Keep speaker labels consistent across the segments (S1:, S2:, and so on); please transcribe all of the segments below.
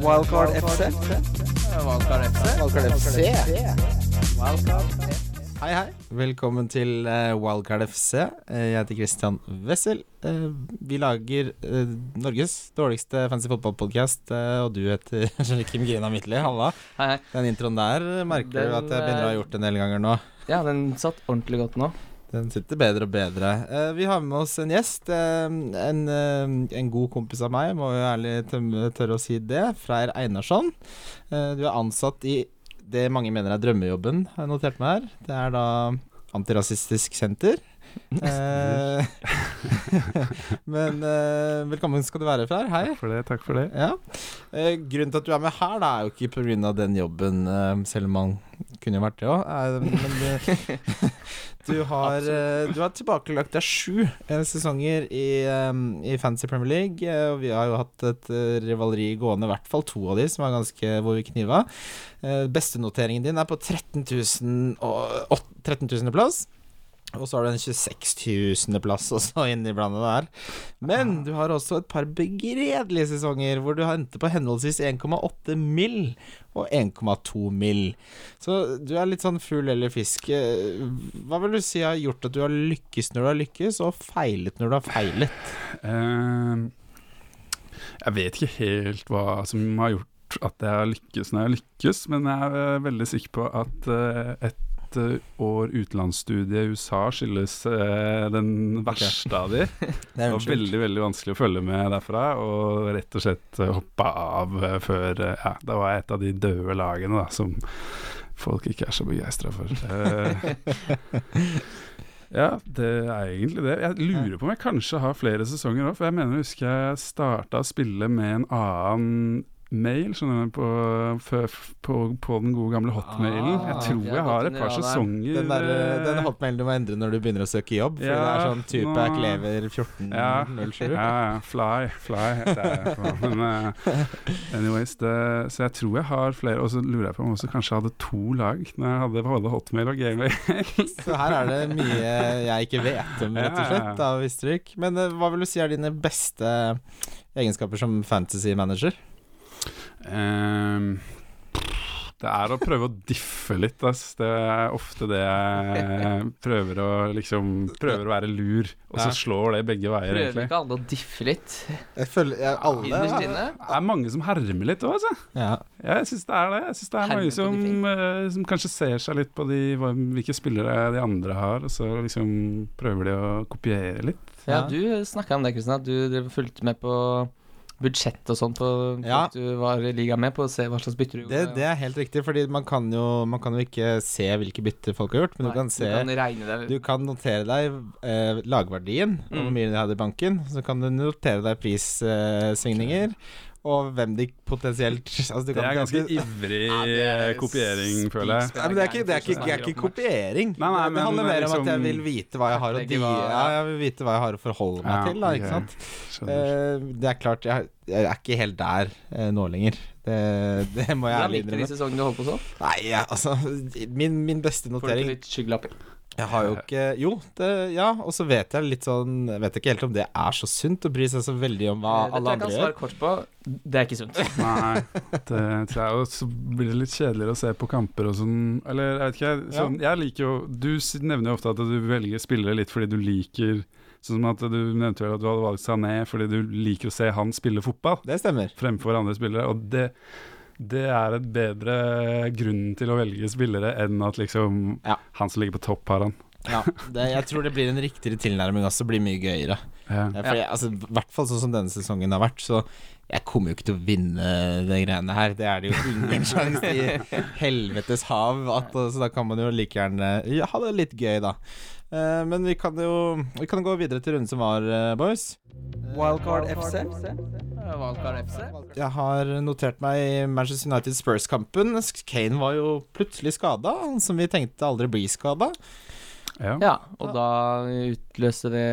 S1: Wildcard FC.
S2: Valgkart FC.
S1: Wildcard FC.
S2: Hei, hei. Velkommen til eh, Wildcard FC. Eh, Jeg heter Christian Wessel. Eh, Vi lager eh, Norges dårligste fancy fotballpodkast, eh, og du heter Kim Grina Midtly. Halla.
S3: Hei, hei.
S2: Den introen der eh, merker du
S3: Den,
S2: at jeg begynner å ha
S3: eh,
S2: gjort en del ganger nå.
S3: Ja, den satt ordentlig godt nå.
S2: Den sitter bedre og bedre. Eh, Vi har med oss en gjest. eh, En, eh, en god kompis av meg, må jo ærlig tømme- tørre å si det. Freyr Einarsson. Eh, Du er ansatt i det mange mener er drømmejobben, har jeg notert meg her. Det er da Antirasistisk Senter. Eh, Men eh, velkommen skal du være, Freyr. Hei.
S4: Takk for det, takk for det.
S2: Ja. Eh, grunnen til at du er med her, da, er jo ikke pga. den jobben, eh, selv om man kunne jo vært det òg. men eh, du, har, eh, du har tilbakelagt deg sju eh, sesonger i, eh, i Fantasy Premier League. eh, og vi har jo hatt et eh, rivaleri gående, i hvert fall to av de, som var ganske hvor vi kniva. Eh, Bestenoteringen din er på 13 000 og, åt- 13 000. plass. Og så har du en 26 000. plass også inni blandet der.
S4: Ah.
S2: Men du har også et par begredelige sesonger hvor du har endte på henholdsvis 1,8 mill. og 1,2 mill. Så du er litt sånn fugl eller fisk. Eh, Hva vil du si har gjort at du har lykkes når du har lykkes, og feilet når du har feilet?
S4: Ehm, jeg vet ikke helt hva som har gjort at jeg har lykkes når jeg har lykkes, men jeg er eh, veldig sikker på at eh, et eh, år utenlandsstudie i USA skyldes eh, den verste av de.
S2: Det
S4: Det var veldig veldig vanskelig å følge med derfra, og rett og slett eh, hoppa av eh, før eh, ja, Da var jeg et av de døde lagene da, som folk ikke er så begeistra for. Eh, ja, det er egentlig det. Jeg lurer på om jeg kanskje har flere sesonger òg, for jeg mener jeg husker jeg starta å spille med en annen mail, skjønner du, på, f- på, på den gode gamle hotmailen. Jeg
S2: Ah,
S4: tror
S3: det er
S4: jeg
S3: godt
S4: har et
S3: under
S4: par
S3: radaren.
S4: sesonger
S2: Den, der, eh, den
S4: eh,
S2: hotmailen du må endre når du begynner å søke jobb, fordi det
S4: Ja,
S2: er sånn type
S4: nå-
S2: er klever 14
S4: Ja.
S2: 07.
S4: Ja, ja, fly, fly heter jeg. på. Men eh, anyways, det, så jeg tror jeg har flere. Og så lurer jeg på om jeg også kanskje hadde to lag når jeg hadde både hotmail og gmail.
S2: Så her er det mye jeg ikke vet om, rett og slett, av visstrykk. Men eh, hva vil du si er dine beste egenskaper som fantasy manager?
S4: Ehm, det er å prøve å diffe litt, ass. Det er ofte det jeg prøver å liksom Prøver å være lur, og så
S2: Ja.
S4: slår det begge veier,
S3: Prøver
S4: egentlig.
S3: ikke alle å diffe litt?
S2: Jeg føler jeg,
S3: Innerst inne?
S4: Det er mange som hermer litt òg, altså.
S2: ja.
S4: Ja, jeg syns det er det. Jeg synes det er
S3: Herre
S4: mange
S3: på
S4: som,
S3: de
S4: eh, som kanskje ser seg litt på de, hva, hvilke spillere de andre har, og så liksom prøver de å kopiere litt.
S2: Ja.
S3: Ja, du snakka om det, Kristian, at du drev og fulgte med på budsjett og sånn på
S2: Ja.
S3: folk du var i liga med, på å se hva slags bytter
S2: Det,
S3: du gjorde.
S2: det er helt riktig, fordi man kan jo, man kan jo ikke se hvilke bytter folk har gjort, men
S3: Nei,
S2: du kan se
S3: Du kan regne det
S2: du kan notere deg eh, lagverdien, og hvor
S3: Mm.
S2: mye de hadde i banken. Så kan du notere deg prissvingninger, eh, og hvem de potensielt altså, du
S4: Det
S2: kan-
S4: er ganske ivrig eh, kopiering, føler jeg.
S2: Nei, men det er ikke, det er ikke, det er ikke kopiering.
S4: Nei, nei,
S2: det
S4: men
S2: handler mer om
S4: liksom-
S2: at jeg vil vite hva jeg har å
S3: Kartlegge
S2: di-
S3: hva-
S2: ja, jeg vil vite hva jeg har å forholde meg
S4: Ja,
S2: til. Da,
S4: ok.
S2: ikke sant?
S4: Skjønner.
S2: Eh, det er klart, jeg, jeg er ikke helt der eh, nå lenger. Det, det må jeg
S3: Hvordan
S2: ærlig
S3: gikk det
S2: innrømme.
S3: de sesongene du holdt på sånn?
S2: Nei, jeg, altså min, min beste
S3: Får du ikke
S2: notering
S3: litt skyggelapper?
S2: Jeg har jo ikke Jo, det, ja. Og så vet jeg litt sånn Jeg vet ikke helt om det er så sunt å bry seg så veldig om hva
S3: Eh, Dette
S2: alle
S3: jeg kan
S2: andre
S3: svare
S2: gjør.
S3: kort på. Det er ikke sunt.
S4: Nei, det tror jeg. Og så blir det litt kjedeligere å se på kamper og sånn. Eller jeg vet ikke, jeg- sånn, jeg liker jo Du s- nevner jo ofte at du velger spillere litt fordi du liker Sånn som at du nevnte vel at du hadde valgt Sané fordi du liker å se han spille fotball.
S2: Det stemmer.
S4: fremfor andre spillere. Og det, det er et bedre grunn til å velge spillere enn at liksom
S2: Ja.
S4: han som ligger på topp, har han.
S2: Ja, det, jeg tror det blir en riktigere tilnærming også. Blir mye gøyere. Ja, for jeg, altså, I hvert fall sånn som denne sesongen har vært, så jeg kommer jo ikke til å vinne de greiene her. Det er det jo ingen sjanse i helvetes hav. At, så da kan man jo like gjerne ja, ha det litt gøy, da. Eh, men vi kan jo Vi kan gå videre til runden som var, eh, boys.
S1: Wildcard FC.
S3: Valgkar FC.
S2: Jeg har notert meg Manchester United Spurs-kampen. Kane var jo plutselig skada, han som vi tenkte aldri blir skada.
S4: Ja.
S3: Ja, og da utløste det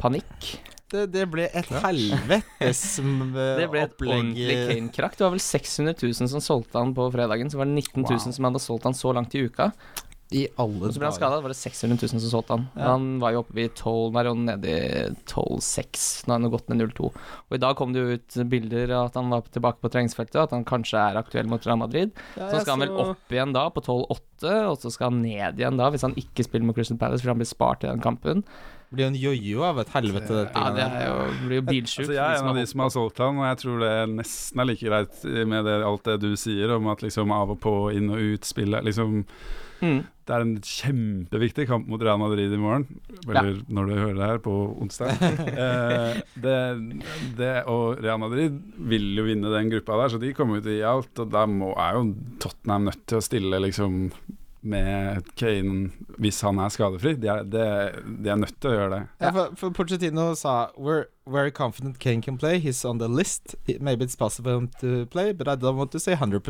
S3: panikk.
S2: Det, det ble et helvetes
S3: Det ble
S2: Eh,
S3: et
S2: opplegg.
S3: ordentlig Kane-krakk. Det var vel 600 000 som solgte han på fredagen. Så var det 19 000
S4: Wow.
S3: som hadde solgt han så langt i uka.
S2: I alle
S3: Og så ble han skada. Det var det 600 000 som solgte han. Men
S2: Ja.
S3: Han var jo oppe i 12 der og nede i 12,6 når han har gått ned 0,2. Og i dag kom det jo ut bilder av at han var tilbake på treningsfeltet, og at han kanskje er aktuell mot Real Madrid. Så skal han vel opp igjen da på 12,8, og så skal han ned igjen da hvis han ikke spiller mot Crystal Palace fordi han blir spart i den kampen.
S2: Blir jo en jojo av et helvete, dette.
S3: Ja,
S2: greiene
S3: det
S2: der.
S3: er jo, blir jo bilsjukt.
S4: Altså, jeg er en av de
S3: holdt
S4: som har solgt han, og jeg tror det nesten er like greit med det, alt det du sier om at liksom av og på, inn og ut, spille liksom,
S3: på. Mm.
S4: Det er en kjempeviktig kamp mot Real Madrid i morgen, eller når du hører det her, på onsdag. eh, det, det, og Real Madrid vil jo vinne den gruppa der, så de kommer jo til å gi alt, og da må, er jo Tottenham nødt til å stille liksom med Kane hvis han er skadefri. De er, det, de er nødt til å gjøre det.
S2: Ja, for, for Pochettino sa We're very confident Kane can play. He's on the list. It- Maybe it's possible for him to play, but I don't want to say 100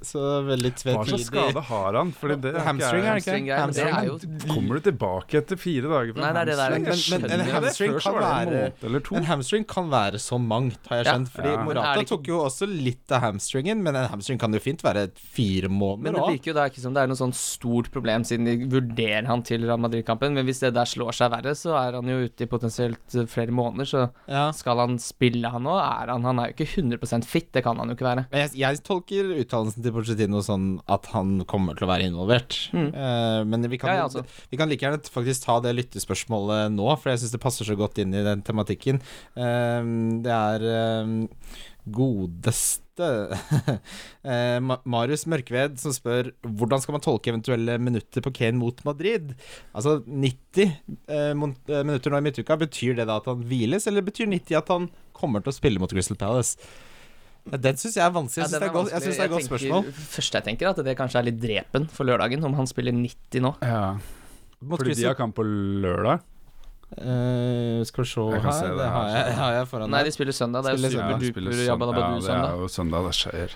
S2: Så veldig
S4: Hva slags skade
S2: tvetydig.
S4: har han? Fordi det er ikke
S2: Hamstring,
S4: jeg-
S2: er det ikke?
S3: Hamstring-greier, men det er jo-
S4: Kommer du tilbake etter fire dager fra
S3: Nei, det er det der.
S4: hamstring? Jeg
S2: Men- men- en
S4: skjønner jo det.
S2: hamstring
S4: Før så
S2: kan
S4: var det en
S2: være-
S4: måned eller to.
S2: En hamstring kan være så mangt, har jeg
S3: Ja.
S2: skjønt. Fordi
S4: Ja.
S3: Men er
S2: Morata
S3: det ikke-
S2: tok jo også litt av hamstringen, men en hamstring kan jo fint være fire
S3: Men
S2: måneder
S3: det
S2: òg.
S3: virker jo da ikke som det er noe sånn stort problem, siden de vurderer han til Real Madrid-kampen. Men hvis det der slår seg verre, så er han jo ute i potensielt eh, flere måneder. Så
S2: Ja.
S3: skal han spille, han òg? Er han Han er jo ikke 100 fit, det kan han jo ikke være.
S2: Men jeg, jeg tolker uttalelsen til Pochettino sånn at han kommer til å være involvert.
S3: Mm.
S2: Eh, men vi kan,
S3: Ja, ja, altså.
S2: vi kan like gjerne faktisk ta det lyttespørsmålet nå, for jeg syns det passer så godt inn i den tematikken. Eh, det er eh, godeste eh, Ma- Marius Mørkved som spør hvordan skal man tolke eventuelle minutter på Kane mot Madrid? Altså 90 eh, mon- eh, minutter nå i midtuka, betyr det da at han hviles, eller betyr 90 at han kommer til å spille mot Crystal Palace? Ja, Den syns jeg er vanskelig. Jeg syns det er godt- jeg synes det er et godt spørsmål.
S3: Første jeg tenker, er at det kanskje er litt drepen for lørdagen, om han spiller 90 nå.
S4: Ja,
S2: Mot
S4: fordi de
S2: Crystal
S4: har kamp på lørdag.
S2: Eh, Skal vi se
S4: Jeg kan
S2: her,
S4: se det
S2: det,
S4: her,
S2: har, jeg,
S4: så-
S2: har jeg foran
S3: Nei,
S2: meg.
S3: de spiller søndag. Det er jo
S2: Spiller søndag.
S4: spiller
S3: superduper
S4: søndag.
S3: jabba dabba
S4: Ja,
S3: du
S4: det er
S3: søndag.
S4: jo søndag det skjer.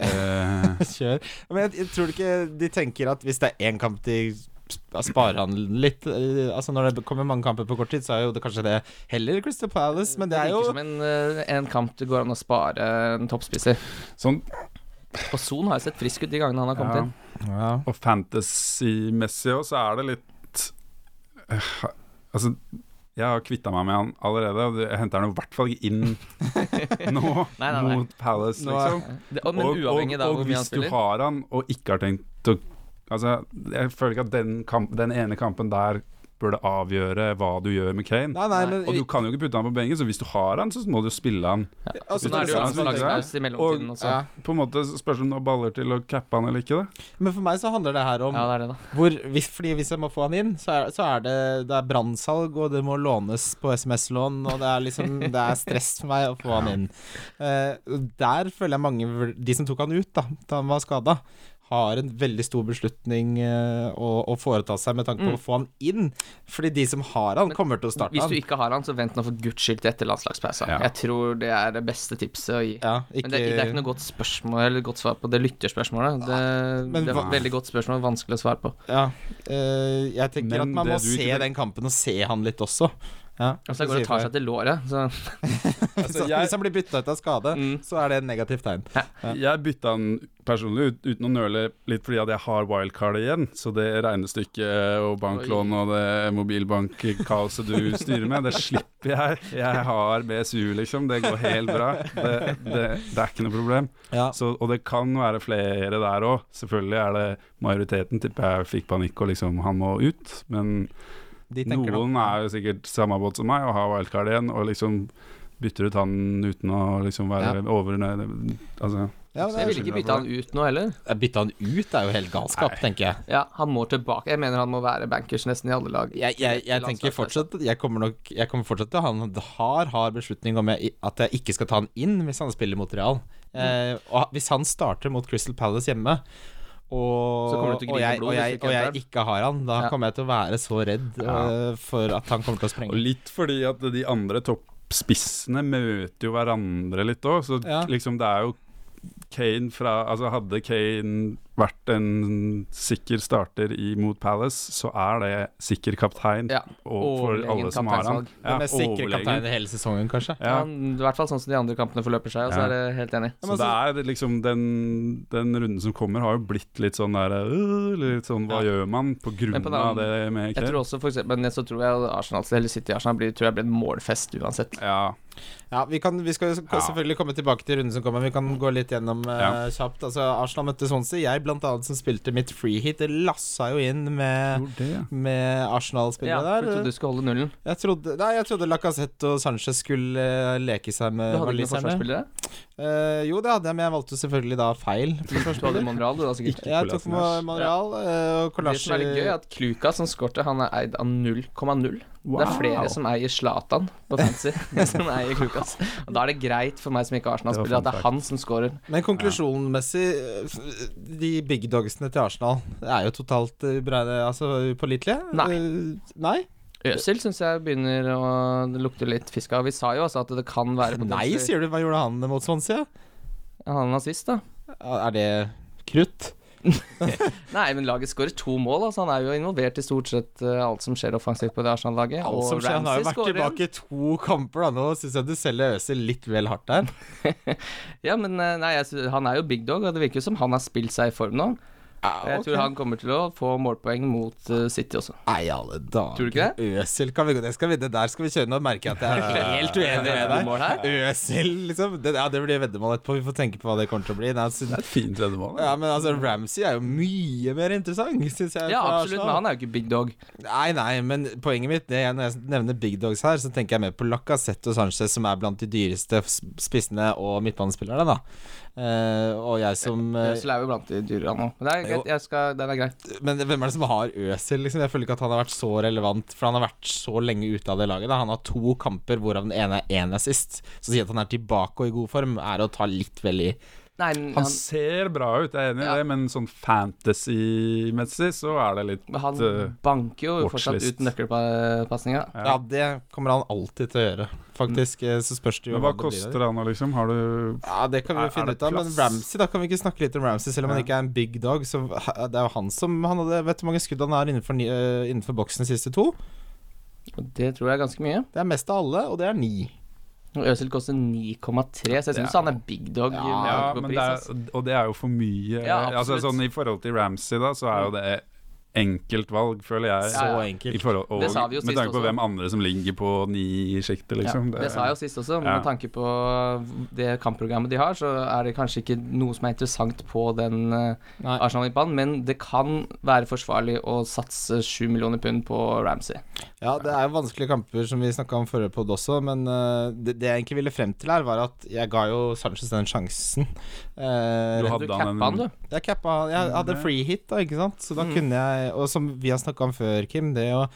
S4: Eh,
S2: Kjør. Men jeg, jeg tror ikke de tenker at hvis det er én kamp de sp- sparer han litt eh, Altså Når det kommer mange kamper på kort tid, så er jo det kanskje det heller Crystal Palace, men det er jo
S3: virker som en, eh, en kamp det går an å spare en toppspisser.
S4: sånn,
S3: Og Son har jo sett frisk ut de gangene han har kommet
S4: ja.
S3: inn.
S2: ja.
S4: Og fantasy-messig òg, så er det litt Eh, Altså, jeg har kvitta meg med han allerede, og jeg henter han i hvert fall ikke inn nå,
S3: Nei, nei, nei.
S4: mot Palace,
S2: Nå er-
S4: liksom.
S3: Det, og, men
S4: og,
S3: uavhengig
S4: og,
S3: da
S4: og
S3: hvor mye han
S4: hvis du
S3: spiller.
S4: har han og ikke har tenkt å Altså, jeg føler ikke at den, kamp, den ene kampen der burde avgjøre hva du gjør med Kane.
S2: Nei, nei, men
S4: Og du kan jo ikke putte han på benken, så hvis du har han, så må du jo spille han.
S2: og så
S3: Så nå Sånn er det jo
S4: Hvis du har han,
S3: landslagspaus i mellomtiden også.
S2: ja.
S4: På en måte så spørs det om du har baller til å cappe han eller ikke. Da.
S2: Men for meg så handler det her om
S3: Ja, det er det, da.
S2: hvor, hvis, Fordi hvis jeg må få han inn, så er, så er det Det er brannsalg, og det må lånes på SMS-lån, og det er liksom Det er stress for meg å få han inn. Eh, og der føler jeg mange vur- De som tok han ut da da han var skada, har en veldig stor beslutning eh, å, å foreta seg med tanke på å få han inn. Fordi de som har han,
S3: Mm. Men
S2: kommer til å starte
S3: Hvis
S2: han.
S3: du ikke har han, så vent nå for guds skyld til etter landslagspausa.
S4: Ja.
S3: Jeg tror det er det beste tipset å gi.
S2: Ja, ikke,
S3: Men det, det er ikke noe godt spørsmål Eller godt svar på det lytterspørsmålet. Det,
S2: Men
S3: det er
S2: hva-
S3: et veldig godt spørsmål, vanskelig å svare på.
S2: ja, eh, jeg tenker
S4: Men
S2: at man må
S4: det du
S2: se
S4: ikke-
S2: den kampen og se han litt også. Ja,
S3: Altså, det går og tar seg Altså, til låret. Så
S2: Så
S4: jeg-
S2: Hvis han blir bytta ut av skade,
S3: Mm.
S2: så er det et negativt tegn.
S4: Jeg bytta han personlig ut, uten å nøle litt fordi at jeg har wildcard igjen. Så det regnestykket og banklån og det mobilbankkaoset du styrer med, det slipper jeg. Jeg har BSU, liksom. Det går helt bra. Det, det, det er ikke noe problem.
S2: Ja.
S4: Så, og det kan være flere der òg. Selvfølgelig er det majoriteten, tipper jeg fikk panikk og liksom han må ut. Men
S2: De tenker
S4: noen er jo sikkert samme båt som meg og har wildcard igjen og liksom bytter ut han uten å liksom være over Altså
S2: ja,
S3: jeg ville ikke bytte han ut nå heller.
S2: Bytte han ut er jo helt galskap,
S4: Nei.
S2: tenker jeg.
S3: Ja, Han må tilbake. Jeg mener han må være bankers nesten i alle lag.
S2: Jeg, jeg, jeg tenker fortsatt Jeg kommer nok Jeg kommer fortsatt til å ha en hard, hard beslutning om jeg, at jeg ikke skal ta han inn hvis han spiller mot Real.
S3: Mm.
S2: Eh, og hvis han starter mot Crystal Palace hjemme og,
S3: Så kommer du til å grine
S2: og, jeg,
S3: blod
S2: og,
S3: hvis
S2: jeg,
S3: du ikke
S2: og
S3: henter
S2: jeg
S3: han.
S2: ikke har han, da
S3: Ja.
S2: kommer jeg til å være så redd
S4: Ja.
S2: eh, for at han kommer til å
S3: Hm.
S4: Og
S2: sprenge.
S4: litt fordi at de andre toppspissene møter jo hverandre litt òg, så
S2: Ja.
S4: liksom det er jo Kane fra Altså hadde Kane vært en sikker starter i, mot Palace, så er det sikker kaptein
S3: Ja,
S4: og for
S3: overlegen
S4: alle som har han.
S3: kapteinsvalg.
S4: Ja,
S2: Den mest sikre
S4: overlegen.
S2: kapteinen i hele sesongen, kanskje.
S4: Ja.
S3: Han, I hvert fall sånn som de andre kampene forløper seg, og så
S4: Ja.
S3: er det helt enig.
S4: Så det er liksom den, den runden som kommer, har jo blitt litt sånn der øh, Litt sånn hva gjør man på grunn
S3: Men på den
S4: av
S3: andre-
S4: det med
S3: Jeg tror også for eksempel, Men så tror jeg Arsenal, eller City Arsenal blir, tror jeg blir en målfest uansett.
S4: Ja,
S2: Ja, vi, kan, vi skal
S4: Ja.
S2: selvfølgelig komme tilbake til runden som kommer. Vi kan gå litt gjennom eh,
S4: Ja.
S2: kjapt. Altså, Arsenal møtte Swansea. Jeg, blant annet, som spilte mitt free hit, det lassa jo inn med
S4: gjorde det, ja.
S2: med
S3: Ja,
S2: Arsenal-spillere
S3: for du
S2: der.
S3: trodde du skulle holde nullen?
S2: Jeg trodde, nei, jeg trodde Lacassette og Sanchez skulle eh, leke seg
S3: Du
S2: med
S3: hadde ikke noen
S2: waliserne.
S3: forsvarsspillere?
S2: Eh, jo, det hadde jeg, men jeg valgte selvfølgelig da feil.
S3: Du hadde Monreal, du da, sikkert.
S2: Jeg tok
S4: Kolasinac.
S2: Ma- Monreal eh, og
S3: Det som er litt gøy, er
S2: Kolasji
S3: at Kluka som skårte, han er eid av 0,0. Det er
S4: Wow.
S3: flere som eier Zlatan på fancy, enn som eier Klukas. Og da er det greit for meg som ikke er
S4: Det
S3: Arsenal-spiller,
S4: var
S3: at det er
S4: fun
S3: han som scorer.
S2: Men konklusjonmessig, eh, f- de big dogsene til Arsenal Det er jo totalt eh, ubreide, altså upålitelige.
S3: Nei.
S2: Eh, nei?
S3: Øsil syns jeg begynner å lukte litt fisk av. Vi sa jo altså at det kan være
S2: nei,
S3: potensielt-
S2: sier du. Hva gjorde han mot Swansea?
S3: Han er nazist, da.
S2: Er det krutt?
S3: Nei, men laget skårer to mål. Altså. Han er jo involvert i stort sett eh, alt som skjer offensivt på det Arsenal-laget.
S2: Alt som skjer, han har jo vært tilbake i to kamper, da. Nå syns jeg du selger Øzil litt vel hardt der.
S3: Ja, men eh, nei, jeg, sy- han er jo big dog, og det virker jo som han har spilt seg i form nå. Jeg tror han kommer til å få målpoeng mot eh, City også.
S2: Nei, i alle dager.
S3: Tror du ikke
S2: Øsil kan vi gå det skal vi, Det der skal vi kjøre. Nå merker jeg at jeg er helt uenig med
S3: Veddemål her?
S2: deg. Øsil, liksom. Det, ja, det blir veddemål etterpå. Vi får tenke på hva det kommer til å bli. Nei, altså,
S4: Det er et fint tredjemål.
S2: ja, men altså, Ramsey er jo mye mer interessant, syns jeg.
S3: Ja,
S2: fra
S3: absolutt, men
S2: Arsenal.
S3: han er jo ikke big dog.
S2: Nei, nei, men poenget mitt det er Når jeg nevner big dogs her, så tenker jeg mer på Lacassette og Sanchez, som er blant de dyreste spissene og midtbanespillerne, da. Eh, og jeg som eh,
S3: Øzil er jo blant de dyrere nå. Men det er
S2: Jo.
S3: greit, jeg skal, den er grei.
S2: Men hvem er det som har Øsil? Liksom? Jeg føler ikke at han har vært så relevant, for han har vært så lenge ute av det laget. Da. Han har to kamper, hvorav den ene er én assist. Så å si at han er tilbake og i god form, er å ta litt vel i.
S3: Nei, men
S4: Han
S3: han,
S4: ser bra ut, jeg er enig i
S3: Ja.
S4: det, men sånn fantasy-messig så er det litt
S3: men han
S4: eh,
S3: banker jo fortsatt
S4: watchlist.
S3: ut nøkkelpasninga.
S4: Ja. Mm.
S2: Ja, det kommer han alltid til å gjøre, faktisk. eh, Så spørs det jo
S4: Men hva
S2: det blir av det.
S4: koster han nå, liksom? Har du
S2: Ja, det kan vi
S4: Er-
S2: jo
S4: er
S2: finne
S4: det
S2: ut av. Men
S4: plass?
S2: Ramsey, da kan vi ikke snakke litt om Ramsey, selv om han
S4: Ja.
S2: ikke er en big dog. Så ha- det er jo han som han hadde, Vet du hvor mange skudd han har innenfor, ni- eh, innenfor boksen de siste to?
S3: Og det tror jeg er ganske mye.
S2: Det er mest av alle, og det er ni.
S3: Og Øzil koster 9,3, så jeg syns
S4: Ja.
S3: han er big dog.
S2: Ja,
S3: med
S4: Ja,
S3: tanke på
S4: men
S3: pris,
S4: det
S3: altså.
S4: er, og det er jo for mye.
S3: Ja,
S4: altså
S3: absolutt.
S4: sånn I forhold til Ramsey, da, så er jo det enkeltvalg, føler jeg.
S2: Så
S3: Ja, ja.
S4: I
S2: enkelt.
S4: forhold, og,
S3: Det sa vi jo
S4: med
S3: sist
S4: tanke på
S3: også.
S4: hvem andre som ligger på ni-sjiktet, liksom.
S3: ja, det sa jeg jo sist også, men
S4: Ja.
S3: med tanke på det kampprogrammet de har, så er det kanskje ikke noe som er interessant på den eh,
S2: Nei.
S3: Arsenal-midtbanen, men det kan være forsvarlig å satse 7 millioner pund på Ramsey.
S2: Ja, det er jo vanskelige kamper, som vi snakka om forrige podd også, men eh, det, det jeg egentlig ville frem til her, var at jeg ga jo Sanchez den sjansen. Eh,
S4: Du hadde
S3: Du
S4: han
S3: cappa
S4: en-
S3: han, du.
S2: jeg cappa Jeg hadde
S4: Mm,
S2: free hit, da, ikke sant, så da
S3: Mm.
S2: kunne jeg Og som vi har snakka om før, Kim, det å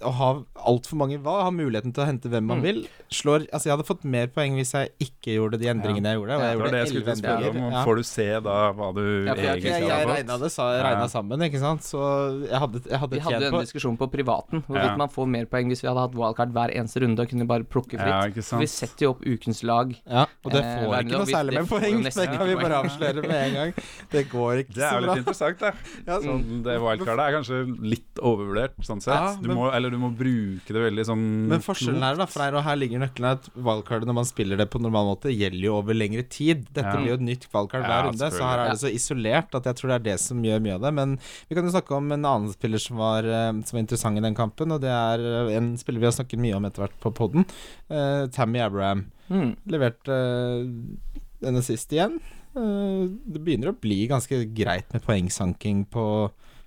S2: å ha altfor mange hva, ha muligheten til å hente hvem man
S3: Mm.
S2: vil. Slår, altså Jeg hadde fått mer poeng hvis jeg ikke gjorde de endringene jeg gjorde. Og
S3: Ja,
S2: jeg
S4: Det var
S2: gjorde
S4: det jeg skulle til å
S2: 11
S4: spørre om.
S2: endringer.
S4: og
S2: Ja.
S4: Får du se da hva du
S3: Ja, for jeg-
S4: egentlig
S2: Jeg, jeg
S4: har fått?
S2: regna det, sa jeg
S4: Ja.
S2: regna sammen, ikke sant. Så jeg hadde, jeg hadde
S3: Vi hadde
S2: tjent
S3: jo
S2: på
S3: en diskusjon på privaten hvorvidt
S4: Ja.
S3: man får mer poeng hvis vi hadde hatt wildcard hver eneste runde og kunne bare plukke
S4: Ja,
S3: fritt.
S4: ikke
S3: For vi
S4: sant.
S3: setter jo opp ukens lag.
S2: Ja, og det
S3: Eh,
S2: får
S3: Werner
S2: ikke
S3: og
S2: noe
S3: vi-
S2: særlig
S3: det
S2: med
S3: får jo
S2: poeng.
S3: nesten
S2: Det kan
S3: ikke
S2: vi
S3: poeng.
S2: bare avsløre med en gang. Det går ikke
S4: Det er
S2: så
S4: jo
S2: bra.
S4: litt interessant, da.
S2: Ja, sånn.
S4: Sånn, det wildcardet er kanskje litt overvurdert, sånn sett.
S2: Ja,
S4: du
S2: men-
S4: må, eller du må bruke det veldig sånn
S2: Men forskjellen er da, Freyr, og her ligger nøkkelen at wildcardet når man spiller det på normal måte, gjelder jo over lengre tid. Dette
S4: Ja.
S2: blir jo et nytt wildcard
S4: Ja,
S2: hver runde, så her
S4: selvfølgelig.
S2: er det så isolert at jeg tror det er det som gjør mye av det. Men vi kan jo snakke om en annen spiller som var, eh, som var interessant i den kampen, og det er eh, en spiller vi har snakket mye om etter hvert på poden. Tammy Abraham.
S3: Mm.
S2: Leverte eh, en assist igjen. Eh, det begynner å bli ganske greit med poengsanking på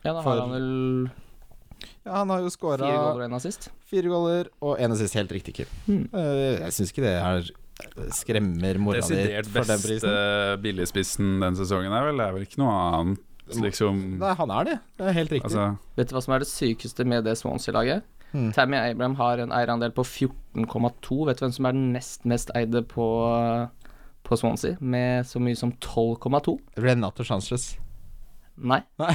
S3: Ja, da
S2: For-
S3: har han vel
S2: Ja, han har jo
S3: fire
S2: skåra
S3: goller og en assist.
S2: fire goaler og en assist. Helt riktig, Kim.
S3: Mm.
S2: Eh, jeg syns ikke det er skremmer mora di
S4: Desidert eh,
S2: for den
S4: beste
S2: prisen.
S4: billigspissen den sesongen er vel Det er vel ikke noe annet, liksom
S2: Nei, han er Mm. det. Det er helt riktig.
S4: Altså,
S3: Vet du hva som er det sykeste med det Swansea-laget?
S2: Mm.
S3: Tammy Abraham har en eierandel på 14,2. Vet du hvem som er den nest mest eide på, på Swansea, med så mye som 12,2?
S2: Renato Sanchez.
S3: Nei.
S2: Nei,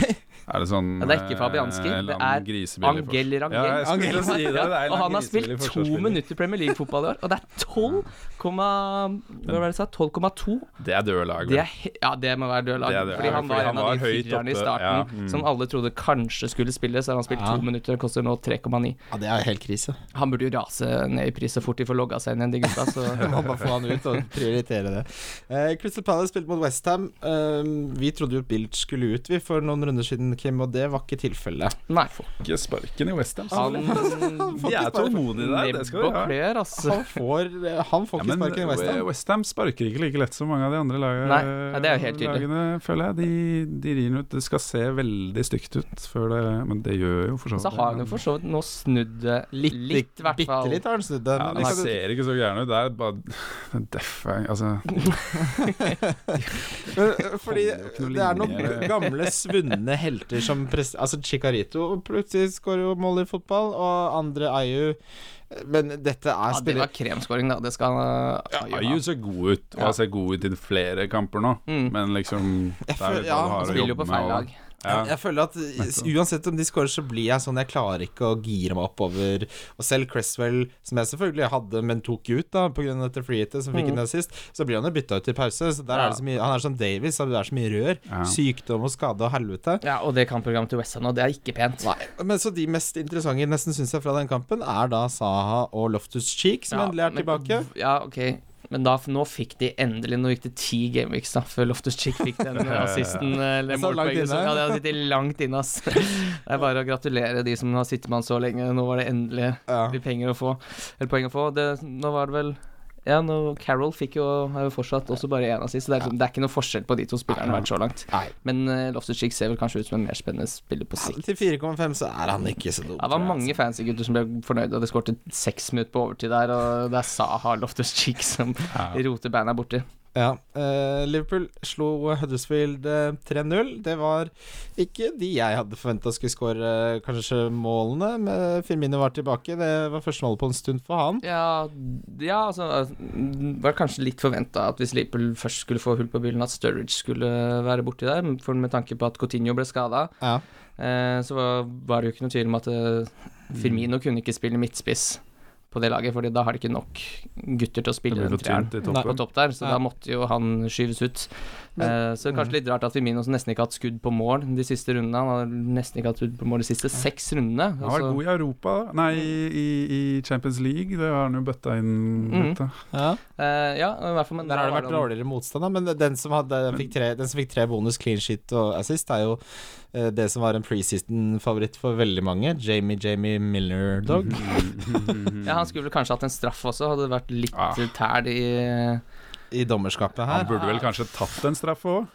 S4: Er det sånn
S3: Ja, det er ikke Fabianski,
S4: eh, en
S3: det er
S4: annen grisebillig
S3: Angel Rangel.
S4: Ja, jeg skulle til å si det, det er en
S3: Ja, og han har spilt
S4: grisebille
S3: to
S4: forsvarsspiller.
S3: minutter Premier League-fotball i år, og det er 12, hva var det jeg sa, 12,2.
S4: forskjell. Det er døde lag.
S3: Det
S4: vel?
S3: er he- Ja, det må være død lag.
S4: Det er død
S3: Fordi
S4: lag,
S3: han
S4: fordi
S3: var
S4: han
S3: en av
S4: var
S3: de
S4: høyt
S3: firerne i
S4: oppe,
S3: starten
S4: ja, mm.
S3: som alle trodde kanskje skulle spille, så har han spilt
S2: Ja.
S3: to minutter, det koster nå 3,9.
S2: Ja, det er jo helt krise.
S3: Han burde jo rase ned i pris så fort de får logga seg inn igjen, de gutta.
S2: Du
S3: Så
S2: må bare få han ut og prioritere det. Eh, Crystal Palace spilte mot Westham. Eh, vi trodde jo Bilt skulle ut vi for noen runder siden, Kim, og det var ikke tilfellet.
S3: nei.
S4: Ikke sparken i Westham.
S3: Han
S2: får
S4: De
S2: ikke
S4: er
S2: sparken.
S4: tålmodige der, det
S3: nebb
S4: skal
S3: og
S4: de ha.
S3: klør, altså.
S2: Han får, eh, han får
S4: Ja,
S2: ikke
S4: men eh,
S2: sparken i Westham.
S4: Westham sparker ikke like lett som mange av de andre lagene.
S3: Nei, nei, det er jo helt tydelig.
S4: lagene, føler jeg. De, de rir den ut. Det skal se veldig stygt ut før det Men det gjør jo for så vidt
S3: Så har han jo for så vidt nå snudd det litt, litt i hvert
S2: Bitte
S3: fall.
S2: litt har han snudd det.
S4: Ja,
S2: men altså, ikke-
S4: det ser ikke så gæren ut. Det er bare Den deffer Altså
S2: Men, eh, Fordi
S4: Holder jo ikke noe
S2: det er
S4: linje.
S2: noen gamle svunne helter som pres- Altså Chicarito plutselig skårer jo mål i fotball, og andre Ayu Men dette er
S3: Ja, det
S2: spiller...
S3: var kremskåring, da. Det skal han ja,
S4: Ayu ser god ut, og har sett god ut i flere kamper nå,
S3: Mm.
S4: men liksom Det er
S2: føler-
S4: jo hva
S2: ja,
S4: du
S2: han
S4: har å
S3: Spiller jo
S4: jobbe
S3: på
S4: med.
S3: feil lag.
S4: og- Ja.
S2: Jeg føler at i- uansett om de skårer, så blir jeg sånn Jeg klarer ikke å gire meg oppover. Og selv Cresswell, som jeg selvfølgelig hadde, men tok ut da pga. dette freehitet som fikk inn assist, så blir han jo bytta ut i pause. Så der
S3: Ja.
S2: er det så mye Han er som Davies, så det er så mye rør.
S4: Ja.
S2: Sykdom og skade og helvete.
S3: Ja, og det kampprogrammet til West Ham nå, det er ikke pent.
S2: Men så de mest interessante nesten synes jeg fra den kampen er da Saha og Loftus Cheek, som
S3: Ja,
S2: endelig er
S3: men-
S2: tilbake.
S3: Ja, ok. Men da, nå fikk de endelig Nå gikk det ti gameweeks da før Loftus Chick fikk den assisten. eh, Eller
S2: Så langt
S3: målpoenget.
S2: inne.
S3: så- Ja, det har sittet langt inne, ass. Det er bare å gratulere de som har sittet med han så lenge. Nå var det endelig
S2: Ja.
S3: litt penger å få. Eller poeng å få. Det, nå var det vel ja, nå, Carol fikk jo, har jo fortsatt også bare én assist. så Det er, liksom- det er ikke noe forskjell på de to spillerne vært så langt.
S2: Nei.
S3: Men uh, Loftus Chick ser vel kanskje ut som en mer spennende spiller på sikt.
S2: Til 4,5 så er han ikke så dum.
S3: Ja,
S2: tror jeg,
S3: det var
S2: altså.
S3: mange fancy gutter som ble fornøyde, og det skåret seks minutter på overtid der, og det er Saha Loftus Cheek som roter beina borti.
S2: altså. Ja, eh, Liverpool slo Huddersfield eh, 3-0. Det var ikke de jeg hadde forventa skulle skåre eh, kanskje målene. Men Firmino var tilbake. Det var første mål på en stund for han.
S3: Ja, ja, altså Det var kanskje litt forventa at hvis Liverpool først skulle få hull på bilen, at Sturridge skulle være borti der, for med tanke på at Coutinho ble skada.
S2: Ja.
S3: Eh, så var, var det jo ikke noe tvil om at eh,
S2: Mm.
S3: Firmino kunne ikke spille midtspiss på det laget, Fordi da har de ikke nok gutter til å
S4: Det
S3: spille
S4: blir
S3: den
S4: for
S3: treeren.
S4: tynt i
S2: Nei.
S3: på
S4: toppen.
S3: topp der, så
S2: Ja.
S3: da måtte jo han skyves ut.
S2: Men-
S3: Eh, så det er kanskje litt rart at Firmino som nesten ikke har hatt skudd på mål de siste rundene. Han har nesten ikke hatt skudd på mål de siste seks rundene. Altså,
S4: Han har vært god i Europa, da. Nei,
S3: Mm.
S4: i, i, i Champions League. Det har han jo bøtta inn
S3: Mhm.
S4: litt, da.
S2: Ja.
S3: Eh, ja, i hvert fall, men
S2: Der har det
S3: da
S2: vært
S3: var han-
S2: dårligere motstand, da. Men den som, hadde, fikk, tre, den som fikk tre bonus, clean shit og assist, er jo eh, det som var en preseason-favoritt for veldig mange. Jamie Jamie Miller-dog.
S3: Ja, Han skulle vel kanskje hatt en straff også, hadde det vært litt
S4: Ah.
S3: eh, tæl i
S2: I dommerskapet her.
S4: Han burde vel kanskje tatt en straff òg.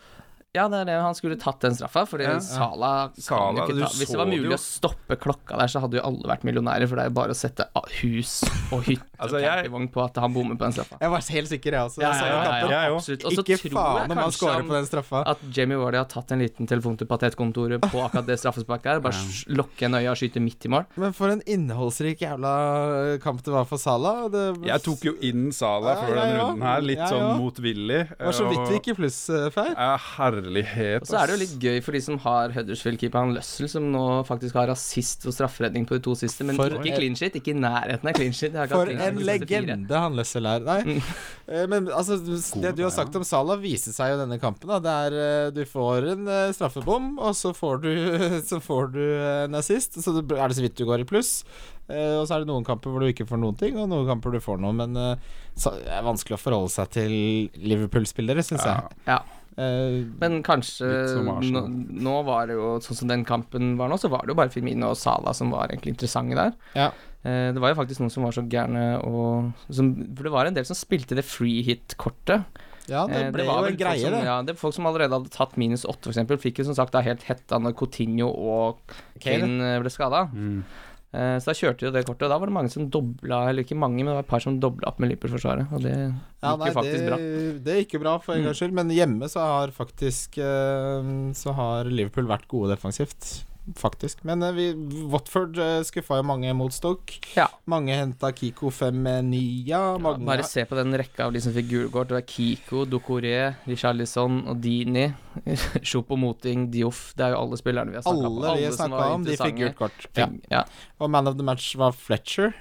S3: Ja, det er det, han skulle tatt den straffa, fordi
S4: Ja.
S3: Salah kan
S4: Salah,
S3: jo ikke
S4: du
S3: ta Hvis det
S4: så
S3: var
S4: det
S3: mulig å
S4: jo.
S3: stoppe klokka der, så hadde jo alle vært millionærer, for det er jo bare å sette ah, hus og hytte
S4: Altså,
S3: og
S4: jeg-
S3: campingvogn på at han bommer på den straffa.
S2: Jeg var helt sikker, jeg også.
S3: Ja,
S2: Jeg så
S3: ja, ja,
S2: kampen.
S4: Jeg òg.
S3: Absolutt. Og så
S2: Ikke
S3: tror jeg
S2: faen om han
S3: kanskje
S2: scorer på den straffa.
S3: At Jamie Wardy har tatt en liten telefon til Patetkontoret på akkurat det straffesparket her. Bare sj- lukke en øye og skyte midt i mål.
S2: Men for en innholdsrik jævla kamp det var for Salah. Det
S4: Jeg tok jo inn Sala
S2: Ja,
S4: før
S2: jeg
S4: den
S2: òg.
S4: runden her, litt
S2: Jeg òg.
S4: sånn motvillig.
S2: var så vidt
S4: og-
S2: vi gikk i pluss, eh, Freyr.
S4: Ja, herlighet,
S3: Og så er det jo
S4: ass.
S3: litt gøy for de som har Huddersfield-keeperen Lussell, som nå faktisk har assist og strafferedning på de to siste, men
S2: For
S3: ikke
S2: en-
S3: clean shit. Ikke i nærheten av clean shit. Jeg har ikke hatt
S2: For
S3: clean shit
S2: en
S3: de siste fire.
S2: legende han Løssel er. Nei. Eh, Men altså, det du har sagt om Salah, viser seg jo i denne kampen. Da. Det er eh, Du får en eh, straffebom, og så får du, så får du eh, en assist. Så det er det så vidt du går i pluss. Eh, Og så er det noen kamper hvor du ikke får noen ting, og noen kamper du får noe. Men eh, så- det er vanskelig å forholde seg til Liverpool-spillere, syns
S4: Ja.
S2: jeg.
S3: Ja.
S2: Eh,
S3: Men kanskje
S4: Litt som
S3: nå,
S4: Arsenal.
S3: nå var det jo sånn som den kampen var nå, så var det jo bare Firmino og Salah som var egentlig interessante der.
S2: Ja.
S3: Eh, det var jo faktisk noen som var så gærne og som, For det var en del som spilte det free hit-kortet.
S2: ja, det
S3: Eh,
S2: ble
S3: var
S2: jo
S3: vel
S2: en greie,
S3: folk som,
S2: det.
S3: Ja, det er folk som allerede hadde tatt minus åtte, f.eks., fikk jo som sagt da helt hetta når Coutinho og
S2: Kane.
S3: Kane eh, ble skada.
S4: Mm.
S3: Eh, så da kjørte jo det kortet, og da var det mange som dobla, eller ikke mange, men det var et par som dobla opp med Liverpool-forsvaret, og det
S2: Ja,
S3: gikk
S2: nei,
S3: jo faktisk
S2: det,
S3: bra. Mm.
S2: det gikk jo bra, for en gangs skyld. Men hjemme så har faktisk eh, Så har Liverpool vært gode defensivt. faktisk. Men eh, vi, Watford eh, skuffa jo mange mot Stoke.
S3: Ja.
S2: Mange henta Kiko Femenia. Mange,
S3: Bare se på den rekka av de som fikk gult kort. Det var Kiko, Dokoré, Richarlison og Dini. Sjopo Moting, Dioff. Det er jo alle spillerne vi har snakka om.
S2: alle vi
S3: som
S2: snakka
S3: var
S2: om, de fikk
S3: interessante.
S2: gult kort. Ja.
S3: Fikk- Ja.
S2: Og man of the match var Fletcher.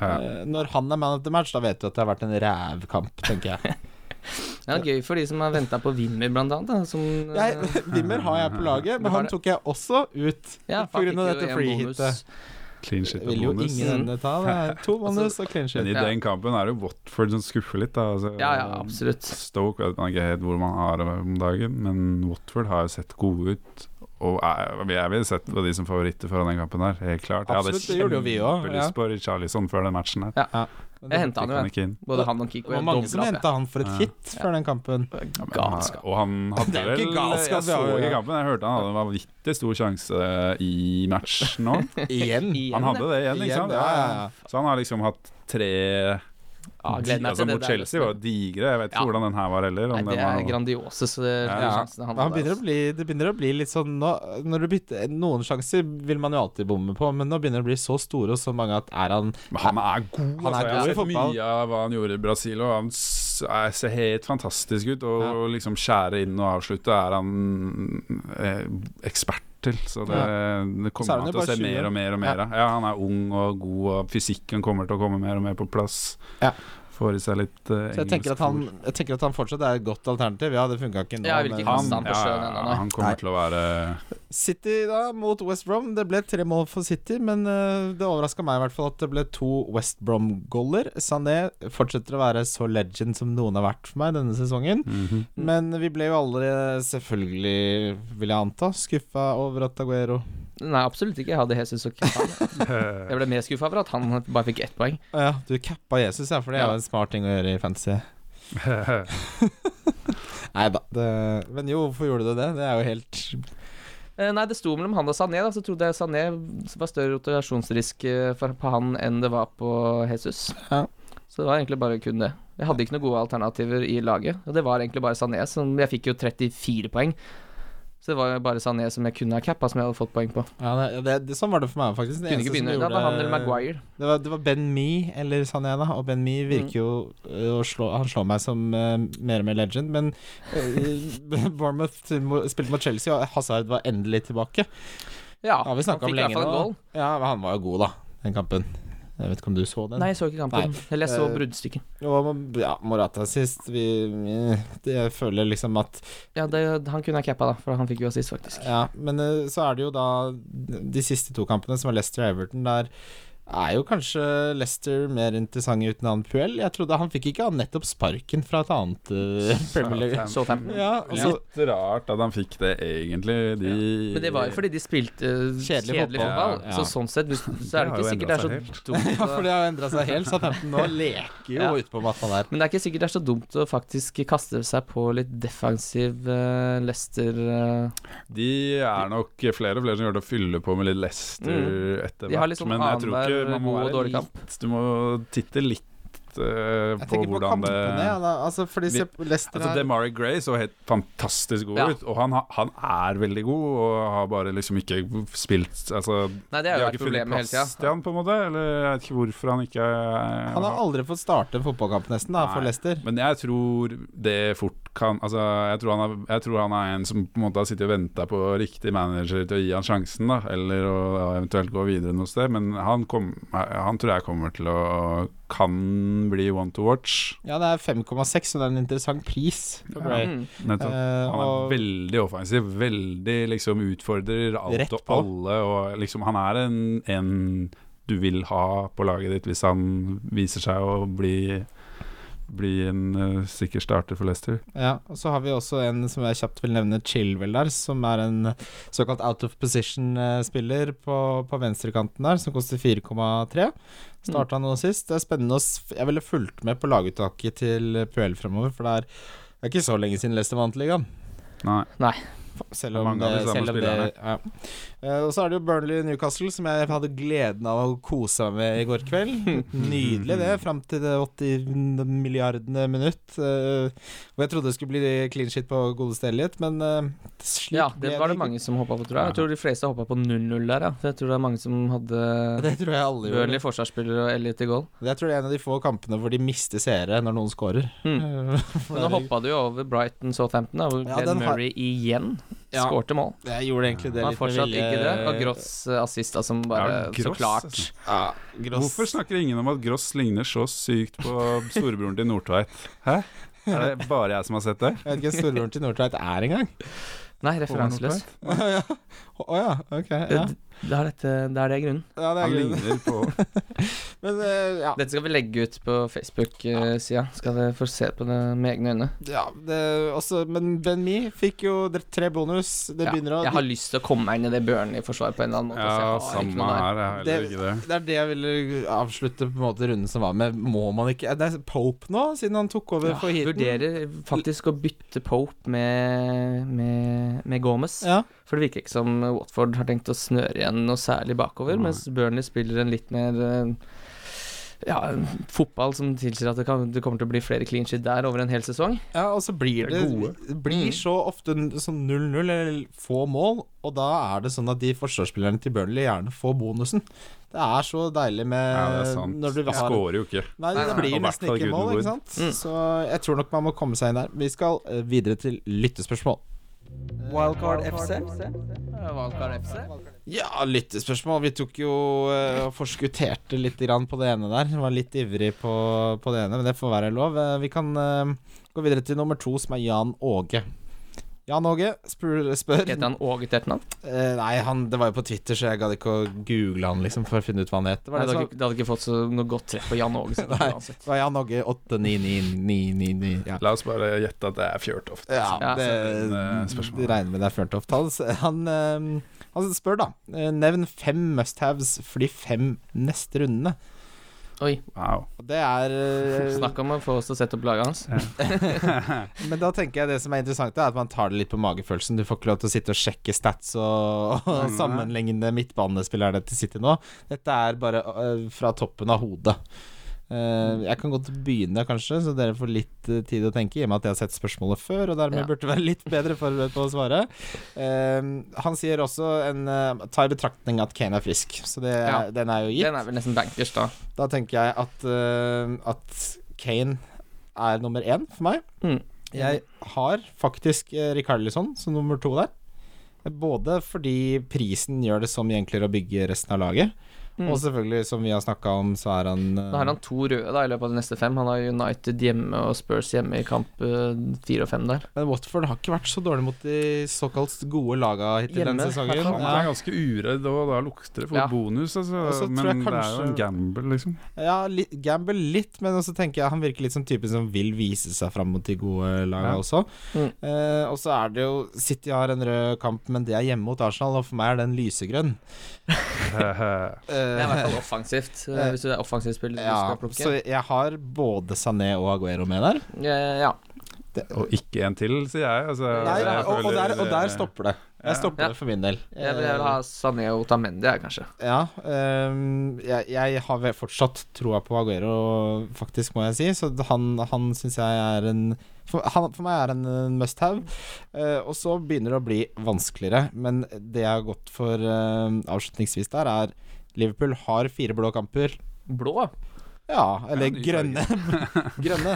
S4: Ja.
S2: Eh, Når han er man of the match, da vet du at det har vært en rævkamp, tenker jeg.
S3: Ja, gøy for de som har venta på Wimmer, blant annet. Da, som, eh,
S2: jeg Wimmer har jeg på laget,
S3: Du
S2: men
S3: har
S2: han
S3: det.
S2: tok jeg også ut.
S3: ja,
S2: på grunn av
S3: fikk jo
S2: dette
S3: en
S2: free-hitet.
S3: bonus.
S4: Clean shit
S2: Det
S4: og
S2: vil jo
S4: bonus.
S2: ingen
S3: Mm.
S2: ende ta. Det er to bonus og clean
S4: Men
S2: shit.
S4: i
S3: Ja.
S4: den kampen er det jo Watford som skuffer litt, da. Altså,
S3: Ja, ja, absolutt.
S4: Stoke vet man ikke helt hvor man har det om dagen, men Watford har jo sett gode ut. Og er- jeg ville sett på de som favoritter foran den kampen her, helt klart.
S2: Absolutt, det
S4: jeg
S2: gjorde jo
S4: hadde
S2: vi også,
S4: kjempelyst på Richarlison før den matchen her.
S3: Jeg henta han
S4: Fikk
S3: jo,
S4: han
S3: jeg.
S4: ikke inn.
S3: Både han og
S2: Det
S3: Kiko.
S2: var
S3: jeg
S2: mange som
S3: doblet opp,
S2: henta han for et
S4: Ja.
S2: hit før den kampen.
S4: Ja,
S3: jeg.
S4: men han-
S3: Galskap.
S4: Og han hadde
S2: Det er jo
S4: vel
S2: ikke galskap,
S4: Jeg så
S2: det er jo-
S4: ikke kampen, jeg hørte han hadde en vanvittig stor sjanse i match nå.
S2: Igjen.
S3: Igjen,
S4: Han hadde det igjen, ikke sant?
S2: Ja, ja, ja.
S4: Så han har liksom hatt tre
S3: Ja, gleder meg
S4: altså,
S3: til det
S4: Mot
S3: der,
S4: Chelsea var jo digre. Jeg vet ikke
S3: Ja.
S4: hvordan den her var heller. Om
S3: Nei, det
S4: den var
S3: er eh,
S4: noe-
S3: grandiose så, eh,
S4: Ja,
S3: de
S4: ja.
S3: sjansene han
S2: Ja, han
S3: hadde,
S2: begynner å
S3: altså.
S2: bli, det begynner å bli litt sånn nå, Når du bytter Noen sjanser vil man jo alltid bomme på, men nå begynner det å bli så store og så mange at er han
S4: Men han er god.
S2: Han er
S4: altså,
S2: god
S4: jeg
S2: i
S4: har sett
S2: fotball.
S4: mye av hva han gjorde i Brasil, og han s- er, ser helt fantastisk ut. Og,
S2: Ja.
S4: og liksom skjære inn og avslutte er han eh, ekspert til. Så det, det
S2: Så er
S4: kommer
S2: han jo
S4: man til å
S2: bare
S4: se
S2: 20.
S4: mer og mer og mer av. Ja, han er ung og god, og fysikken kommer til å komme mer og mer på plass.
S2: Ja.
S4: Får i seg litt eh,
S2: Så jeg tenker, at han, jeg tenker at han fortsatt er et godt alternativ. Ja, det funka ikke nå.
S3: Ja, jeg vil ikke
S2: men-
S3: kaste han på sjøen ennå, nei.
S4: han kommer
S2: Nei.
S4: til å være
S2: City da mot West Brom. Det ble tre mål for City, men eh, det overraska meg i hvert fall at det ble to West Brom-goller. Sané fortsetter å være så legend som noen har vært for meg denne sesongen.
S4: Mhm.
S3: Mm.
S2: Men vi ble jo alle, selvfølgelig, vil jeg anta, skuffa over at Aguero
S3: altså. Nei, absolutt ikke. Jeg hadde Jesus og Kepa. Jeg ble mer skuffa over at han bare fikk ett poeng.
S2: Å Ja, du cappa Jesus, ja, for det er jo en smart ting å gjøre i fantasy. Nei da. det- Men jo, hvorfor gjorde du det? Det er jo helt
S3: Eh, Nei, det sto mellom han og Sané, da, så trodde jeg Sané var større rotasjonsrisk eh, for- på han enn det var på Jesus.
S2: Ja.
S3: Så det var egentlig bare kun det. Jeg hadde ikke noen gode alternativer i laget, og det var egentlig bare Sané som Jeg fikk jo 34 poeng, så det var jo bare Sané som jeg kunne ha cappa, som jeg hadde fått poeng på.
S2: ja, det, det, det, Sånn var det for meg, faktisk. Den
S3: Kunne
S2: eneste
S3: ikke
S2: som
S3: begynne. Da var han eller Maguire.
S2: Det var, det var Ben Me eller Sané, da. Og Ben Me virker jo ø, å slå, Han slår meg som ø, mer og mer legend, men ø, Bournemouth mo- spilte mot Chelsea, og Hazard var endelig tilbake.
S3: Ja,
S2: Ja, vi
S3: han
S2: snakket om
S3: fikk i hvert
S2: lenge
S3: fall en
S2: nå.
S3: goal.
S2: Ja, men han var jo god, da, den kampen. Jeg vet ikke om du så den?
S3: Nei, jeg så ikke kampen. Eller jeg så
S2: Eh,
S3: bruddstykket.
S2: Og ja, Morata sist vi, vi, det- Jeg føler liksom at
S3: Ja, det, han kunne ha cappa, da, for han fikk jo assist, faktisk.
S2: Ja, men eh, så er det jo da de siste to kampene, som er Leicester og Everton, der er jo kanskje Leicester mer interessante uten han Puel. Jeg trodde han fikk ikke han nettopp sparken fra et annet eh, Premier League.
S3: Så fem.
S2: Ja, Altså- og så-
S4: Litt rart at han fikk det, egentlig. De
S3: Men det var jo fordi de spilte eh,
S2: Kjedelig
S3: kjedelig,
S2: fotball.
S3: fotball.
S2: Ja, ja.
S3: Så sånn sett hvis, så er
S4: har
S3: det
S4: jo
S3: ikke sikkert det er så
S4: endret
S3: dumt.
S2: Ja,
S3: å-
S2: for det har jo endra seg helt. Southampton nå leker jo
S3: Ja.
S2: ute på matta der.
S3: Men det er ikke sikkert det er så dumt å faktisk kaste seg på litt defensiv uh, Leicester eh.
S4: De er nok flere og flere som gjør det å fylle på med litt Leicester
S3: Mm.
S4: etter
S3: De har
S4: hvert.
S3: liksom
S4: men jeg tror ikke
S3: annenhver
S4: man må
S3: god og
S4: være
S3: dårlig
S4: litt Du må titte litt eh,
S2: Jeg
S4: på
S2: tenker på
S4: hvordan det
S2: kampene, ja, da. Altså, fordi
S4: Vi-
S2: se, Leicester
S4: Altså
S2: er
S4: Demari Gray så helt fantastisk god
S3: Ja.
S4: ut, og han, har- han er veldig god, og har bare liksom ikke spilt Altså,
S3: Nei, det
S4: de
S3: er jo et
S4: har ikke funnet
S3: problem hele
S4: plass
S3: tida.
S4: til han, på en måte, eller jeg vet ikke hvorfor han ikke er-
S2: Han har aldri fått starte en fotballkamp, nesten, da, for
S4: Nei.
S2: Leicester.
S4: Men jeg tror det fort kan Altså, jeg tror han er, jeg tror han er en som på en måte har sittet og venta på riktig manager til å gi han sjansen, da, eller å ja, eventuelt gå videre noe sted, men han, kom, han tror jeg kommer til å kan bli one to watch.
S2: Ja, det er 5,6, så det er en interessant pris. for
S4: Ja.
S2: Bray.
S3: Mm.
S4: Nettopp.
S2: Eh,
S4: Han er
S2: og-
S4: veldig offensiv, veldig liksom utfordrer
S2: Rett
S4: alt og
S2: på.
S4: alle, og liksom han er en, en du vil ha på laget ditt hvis han viser seg å bli bli en eh, sikker starter for Leicester.
S2: Ja, og så har vi også en som jeg kjapt vil nevne, Chilwell der, som er en såkalt out of position-spiller på, på venstrekanten der, som koster 4,3. Starta nå sist. Det er spennende å s- Jeg ville fulgt med på laguttaket til Puel fremover, for det er, det er ikke så lenge siden Leicester vant ligaen.
S4: Nei.
S2: Selv om
S4: Mange av de
S2: det,
S4: samme
S2: selv om det
S4: spillerne.
S2: ja. Eh, Og så er det jo Burnley Newcastle, som jeg hadde gleden av å kose meg med i går kveld. Nydelig, det. Fram til det 80 milliardene minutt. eh, Hvor jeg trodde det skulle bli clean shit på godeste Elliot, men eh, slik
S3: Ja,
S2: ble
S3: det var det
S2: ikke.
S3: mange som hoppa på, tror jeg. Jeg tror de fleste hoppa på 0-0 der, ja. For jeg tror det er mange som hadde
S2: Det tror jeg alle gjorde.
S3: Burnley forsvarsspiller og Elliot i goal.
S2: Jeg tror det er en av de få kampene hvor de mister seere når noen scorer.
S3: Mm.
S2: For
S3: Men nå
S2: det-
S3: hoppa du jo over Brighton Southampton, da, hvor
S2: Ja,
S3: Ben
S2: den har-
S3: Murray igjen
S2: Ja.
S3: skårte mål.
S2: Jeg gjorde egentlig det
S3: Han
S2: litt
S3: er
S2: med
S3: fortsatt
S2: vilje.
S3: ikke død. Og Gross eh, assist, da, som bare
S4: Ja, Gross,
S3: Så klart.
S4: altså.
S2: Ja, gross.
S4: Hvorfor snakker ingen om at Gross ligner så sykt på storebroren til Nordtveit? Hæ? Er det bare jeg som har sett det?
S2: Jeg vet ikke hvem storebroren til Nordtveit er engang.
S3: Nei, referanseløs.
S2: Å ja. Å ja, ok.
S3: Det,
S2: Ja.
S3: det, er dette, det er det grunnen.
S2: ja, det er
S4: Han
S2: grunnen.
S4: ligner på
S2: Men eh, ja.
S3: Dette skal vi legge ut på Facebook-sida. Skal dere få se på det med egne øyne.
S2: ja det, også, men Ben Mi fikk jo dre- tre bonus. Det
S3: Ja,
S2: begynner å
S3: jeg har lyst til å komme meg inn i det Burnley-forsvaret på en eller annen måte. så jeg
S4: Ja,
S3: har ikke
S4: samme
S3: noe der.
S4: her. Jeg har heller ikke det.
S2: Det er det jeg ville avslutte på en måte runden som var med. Må man ikke Det er Pope nå, siden han tok over for
S3: Jeg
S2: Heaton.
S3: vurderer faktisk å bytte Pope med, med, med Gomez.
S2: Ja.
S3: For det virker ikke som Watford har tenkt å snøre igjen noe særlig bakover,
S4: Nei.
S3: mens Burnley spiller en litt mer eh, ja, fotball som tilsier at det, kan, det kommer til å bli flere clean shit der over en hel sesong.
S2: Ja, og så blir
S4: De
S2: det,
S4: er gode.
S2: det blir
S3: Mm.
S2: så ofte n- sånn 0-0 eller få mål, og da er det sånn at de forsvarsspillerne til Burnley gjerne får bonusen. Det er så deilig med
S4: Ja, det er sant.
S2: Eh, når du
S4: De
S2: har
S4: skårer jo ikke.
S2: Nei,
S3: Nei,
S2: det
S3: nei,
S2: blir
S4: og i hvert
S2: nesten
S4: fall
S2: ikke mål, ikke
S4: Gutenberg.
S2: sant?
S3: Mm.
S2: Så jeg tror nok man må komme seg inn der. Vi skal eh, videre til lyttespørsmål.
S1: Wildcard FC.
S2: Ja, lyttespørsmål. Vi tok jo eh, og forskutterte litt grann på det ene der. Var litt ivrig på, på det ene, men det får være lov. Eh, Vi kan eh, gå videre til nummer to, som er Jan Åge. Jan Åge spør, spør
S3: Heter han Åge til etternavn?
S2: Eh, Nei, han, det var jo på Twitter, så jeg gadd ikke å google han liksom for å finne ut hva han het. Det var, det
S3: Nei, Det, hadde
S2: som,
S3: ikke- det hadde ikke fått så noe godt treff på Jan Åge. så det
S2: Nei.
S3: var uansett.
S2: det var Jan Åge 899999. Ja.
S4: La oss bare gjette at det er Fjørtoft.
S2: Ja,
S3: Ja,
S2: det,
S4: send inn, eh, spørsmål.
S2: det regner med det er Fjørtoft. Han, han, eh, han spør, da. eh, Nevn fem must-haves for de fem neste rundene.
S3: Oi,
S4: Wow.
S2: Og det er eh,
S3: snakk om å få oss til å sette opp laget hans.
S2: Men da tenker jeg det som er interessant, er at man tar det litt på magefølelsen. Du får ikke lov til å sitte og sjekke stats og, og
S3: Mm.
S4: Nei.
S2: sammenligne midtbanespillerne til City nå. Dette er bare øh, fra toppen av hodet. Eh, jeg kan godt begynne, kanskje, så dere får litt eh, tid å tenke, i og med at jeg har sett spørsmålet før, og dermed
S3: Ja.
S2: burde være litt bedre forberedt på å svare. Eh, han sier også en eh, Ta i betraktning at Kane er frisk, så det, er-
S3: Ja.
S2: den er jo gitt.
S3: Den er vel nesten bankers, da.
S2: Da tenker jeg at, eh, at Kane er nummer én for meg.
S3: Mm.
S2: Jeg har faktisk eh, Rikarlisson som nummer to der. Både fordi prisen gjør det så mye enklere å bygge resten av laget,
S3: Mm.
S2: og selvfølgelig, som vi har snakka om, så er han eh,
S3: Da har han to røde da i løpet av de neste fem. Han har United hjemme og Spurs hjemme i kamp eh, fire og fem der.
S2: Men Watford har ikke vært så dårlig mot de såkalt gode laga hittil
S3: Hjemme,
S2: denne
S3: i
S2: sesongen.
S3: hvert fall.
S4: Han er ganske uredd, og da lukter det for
S3: Ja.
S4: bonus, altså.
S2: Og så tror jeg
S4: Men det er jo
S2: kanskje-
S4: en gamble, liksom.
S2: Ja, li gamble litt, men også tenker jeg han virker litt som typen som vil vise seg fram mot de gode laga
S4: Ja.
S2: også.
S3: Mm.
S2: Eh, og så er det jo City har en rød kamp, men det er hjemme mot Arsenal, og for meg er den lysegrønn.
S3: Det er i
S2: Eh,
S3: hvert fall offensivt, eh, hvis du er offensiv spiller. du
S2: ja,
S3: skal plukke.
S2: så jeg har både Sané og Aguero med der.
S3: Eh, ja.
S4: Og ikke en til, sier jeg. eh, Altså,
S2: Nei,
S3: jeg
S2: og, og, der, og der stopper det. Jeg stopper
S3: Ja.
S2: det for min del. Eh,
S3: Jeg vil, jeg vil ha
S4: Eh.
S3: Sané og Otamendi, jeg, kanskje.
S2: Ja, ehm, jeg, jeg har vel fortsatt troa på Aguero, faktisk, må jeg si. Så han, han syns jeg er en for, han, for meg er han en must have. Eh, og så begynner det å bli vanskeligere, men det jeg har gått for ehm, avslutningsvis der, er Liverpool har fire blå kamper.
S3: Blå?
S2: Ja, eller
S4: Ja, ny
S2: grønne. grønne.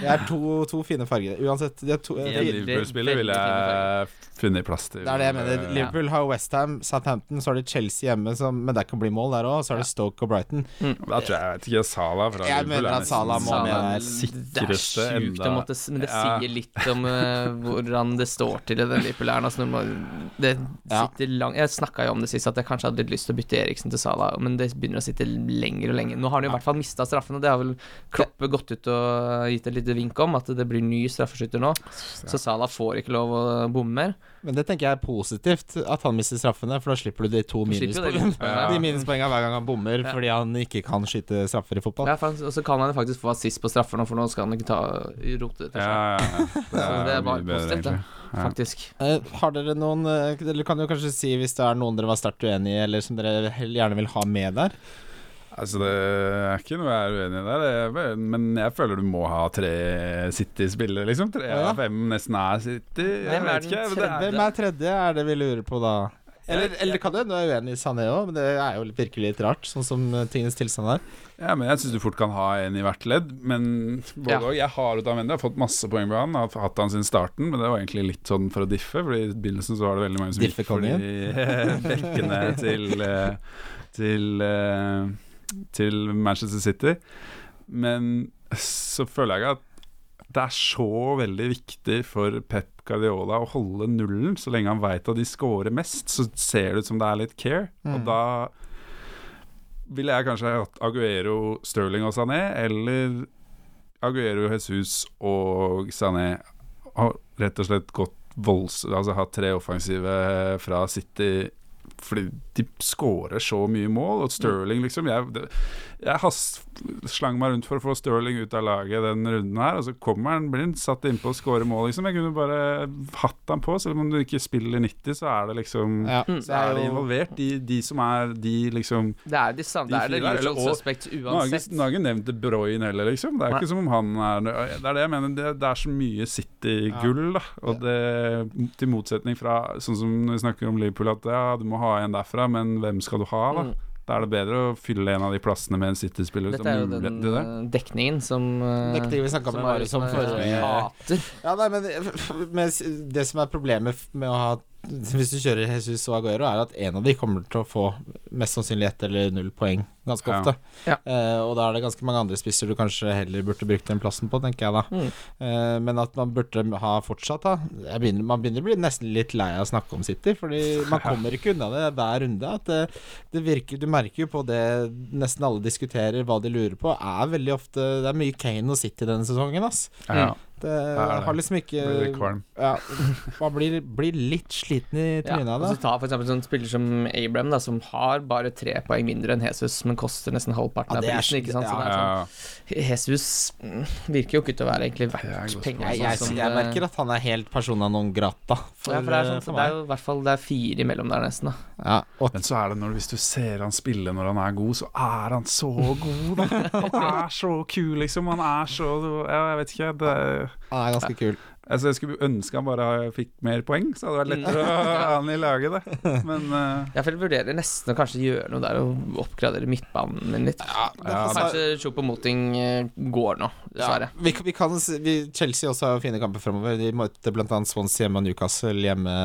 S2: Det er to, to fine farger. Uansett, de har to,
S3: Ja,
S4: En
S2: fire,
S3: Veldig,
S4: Liverpool-spiller ville
S3: veldig
S4: jeg funnet plass til.
S2: Det er det jeg mener. Liverpool har Westham, Southampton, så har de Chelsea hjemme, som, men det kan bli mål der òg. Så har de Stoke og Brighton.
S4: Da tror jeg, jeg vet ikke, Salah fra
S2: Jeg
S4: Liverpool
S2: mener
S4: er
S2: at
S4: nesten
S2: Salah må med
S4: Salah
S2: der.
S3: det
S4: er
S3: er
S4: Sikreste
S3: sjukt å
S4: enda.
S3: måtte s- Men det
S4: Ja.
S3: sier litt om eh, hvordan det står til i den Liverpool her. Altså, når man- det
S2: Ja.
S3: sitter lang, jeg snakka jo om det sist, at jeg kanskje hadde litt lyst til å bytte Eriksen til Salah, men det begynner å sitte lenger og lenger. Nå har han jo i hvert fall mista straffen, og det har vel Kloppe gått ut og gitt et lite vink om, at det blir ny straffeskytter nå. Så Salah får ikke lov å bomme mer.
S2: Men det tenker jeg er positivt, at han mister straffene, for da slipper du de to
S3: Du slipper jo det
S2: minuspoengene.
S4: Ja.
S2: De minuspoengene hver gang han bommer
S3: Ja.
S2: fordi han ikke kan skyte straffer i fotball.
S3: Ja, for han- og så kan han jo faktisk få assist på straffer nå, for nå skal han ikke ta rote etter seg.
S4: Ja, ja, ja.
S3: Så det er bare
S4: mye bedre,
S3: positivt, det.
S4: egentlig. Ja.
S3: faktisk.
S2: Eh, har dere noen eh, Dere kan jo kanskje si hvis det er noen dere var sterkt uenig i, eller som dere hell- gjerne vil ha med der.
S4: Altså Det er ikke noe jeg er uenig i der, jeg er- men jeg føler du må ha tre City-spillere, liksom. Tre
S2: Ja.
S4: av fem nesten er City. Jeg
S3: Hvem er den
S4: vet ikke. men det er-
S2: Hvem er tredje, er det vi lurer på da? Eller, eller det kan jo hende du er uenig i Sané òg, men det er jo virkelig litt rart, sånn som eh, tingenes tilstand er.
S4: Ja, men Jeg syns du fort kan ha en i hvert ledd. Men både
S3: Ja.
S4: og, jeg har Otamendi, jeg har fått masse poeng med han. Jeg har hatt han siden starten, men det var egentlig litt sånn for å diffe. Fordi i begynnelsen så var det veldig mange som gikk for de bekkene til eh, til, eh, til Manchester City. Men så føler jeg ikke at det er så veldig viktig for Pep Guardiola å holde nullen. Så lenge han veit at de scorer mest, så ser det ut som det er litt care.
S2: Mm.
S4: Og da ville jeg kanskje ha hatt Aguero, Stirling og Sané, eller Aguero, Jesus og Sané. Har rett og slett gått volds... Altså hatt tre offensive fra City fordi de skårer så mye mål, og Stirling liksom Jeg, det- jeg has, slang meg rundt for å få Stirling ut av laget den runden her, og så kommer han blindt, satt innpå og skårer mål, liksom. Jeg kunne bare hatt han på, selv om du ikke spiller 90, så er det liksom
S2: Ja,
S3: Mm.
S4: Så er de
S2: jo-
S4: involvert, de, de som er de liksom
S3: Det er de samme,
S4: De
S3: det er det
S4: fire der,
S3: usual
S4: eller- og-
S3: suspects
S4: Nå har jeg
S3: uansett.
S4: ikke, nå har jeg ikke nevnt De Bruyne heller, liksom. Det er
S3: Nei.
S4: ikke som om han er Det er det jeg mener, det, det er så mye City-gull, da. Og det, til motsetning fra sånn som når vi snakker om Liverpool, at ja, du må ha en derfra, men hvem skal du ha, da?
S3: Mm.
S4: Da er det bedre å fylle en av de plassene med en City-spiller.
S3: Dette er jo den
S4: det.
S3: eh, dekningen som eh,
S2: Det er ikke det vi snakket om,
S3: som
S2: det var jo
S3: Marius
S2: som forrige-
S3: hater.
S2: Ja, nei, men det- men s- det som er problemet f- med å ha Hvis du kjører Jesus og Aguero, er at en av de kommer til å få mest sannsynlig ett eller null poeng ganske
S4: Ja.
S2: ofte.
S3: Ja.
S2: Eh, og da er det ganske mange andre spisser du kanskje heller burde brukt den plassen på, tenker jeg da.
S3: Mm.
S2: Eh, men at man burde ha fortsatt, da. Jeg begynner, man begynner å bli nesten litt lei av å snakke om City, fordi man kommer ikke unna det hver runde. At det, det virker, du merker jo på det nesten alle diskuterer, hva de lurer på, er veldig ofte Det er mye Kane og City denne sesongen, ass.
S4: Ja,
S3: Mm.
S2: Det
S4: er det.
S2: har liksom ikke
S4: blir det kvalm.
S2: ja, man blir, blir litt sliten i
S3: Ja,
S2: trynet av
S3: og så
S2: det.
S3: ta for eksempel sånn spiller som Abraham, da, som har bare tre poeng mindre enn Jesus, men koster nesten halvparten
S2: Ja,
S3: av
S2: det er
S3: prisen.
S2: så-
S3: Ikke sant?
S2: ja,
S3: Så det er sånn, Jesus mm, virker jo ikke til å være egentlig
S4: Det er et
S3: verdt
S4: godt
S3: penger.
S4: spørsmål.
S2: Jeg, jeg, jeg merker at han er helt persona non grata eh, for,
S3: ja, for det
S2: eh,
S3: er, sånn,
S2: for
S3: det er
S2: meg.
S3: jo i hvert fall det er fire imellom der, nesten. Da.
S2: Ja, og
S4: Men så er det når, hvis du ser han spille når han er god, så er han så god, da. Han er så kul, liksom. Han er så ja, Jeg vet ikke. Det er
S2: han er ganske kul.
S4: Altså Jeg skulle ønske han bare fikk mer poeng, så hadde det vært
S3: Mm.
S4: lettere å ha han i laget. Da. Men eh,
S3: Jeg føler- vurderer nesten å kanskje gjøre noe der og oppgradere midtbanen min litt.
S4: ja,
S2: Derfor
S3: kanskje Chopo Moting eh, går nå, dessverre.
S2: vi, vi kan, s- vi, Chelsea også har jo fine kamper fremover. De møtte bl.a. Swansea hjemme og Newcastle hjemme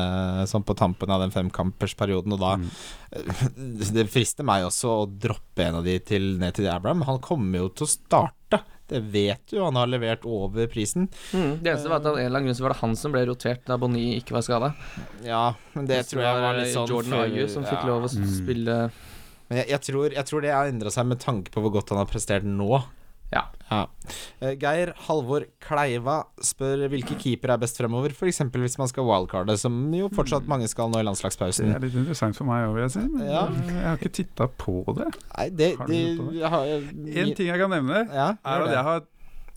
S2: sånn på tampen av den femkampersperioden. Og da
S4: Mm.
S2: Det frister meg også å droppe en av de til, ned til Abraham. Han kommer jo til å starte. Det vet du, han har levert over prisen.
S3: Mm, det eneste var at av en eller annen grunn så var det han som ble rotert da Bonny ikke var skada.
S2: Ja, men det tror jeg var litt sånn
S3: eh, Jordan
S2: før-
S3: Ayu som fikk
S2: ja.
S3: lov å s-
S4: Mm.
S3: spille
S2: Men jeg, jeg, tror, jeg tror det har endra seg med tanke på hvor godt han har prestert nå.
S3: Ja.
S2: Eh, Geir Halvor Kleiva spør hvilke keepere er best fremover, f.eks. hvis man skal wildcarde, som jo fortsatt mange skal nå i
S4: det
S2: landslagspausen.
S4: er litt interessant for meg òg, vil jeg si. Men
S2: Ja.
S4: jeg har ikke titta på det.
S2: Nei, det,
S4: Har du
S2: det,
S4: noe på det?
S2: jeg har
S4: En ting jeg kan nevne,
S2: ja,
S4: er
S2: gjør
S4: at
S2: det.
S4: jeg har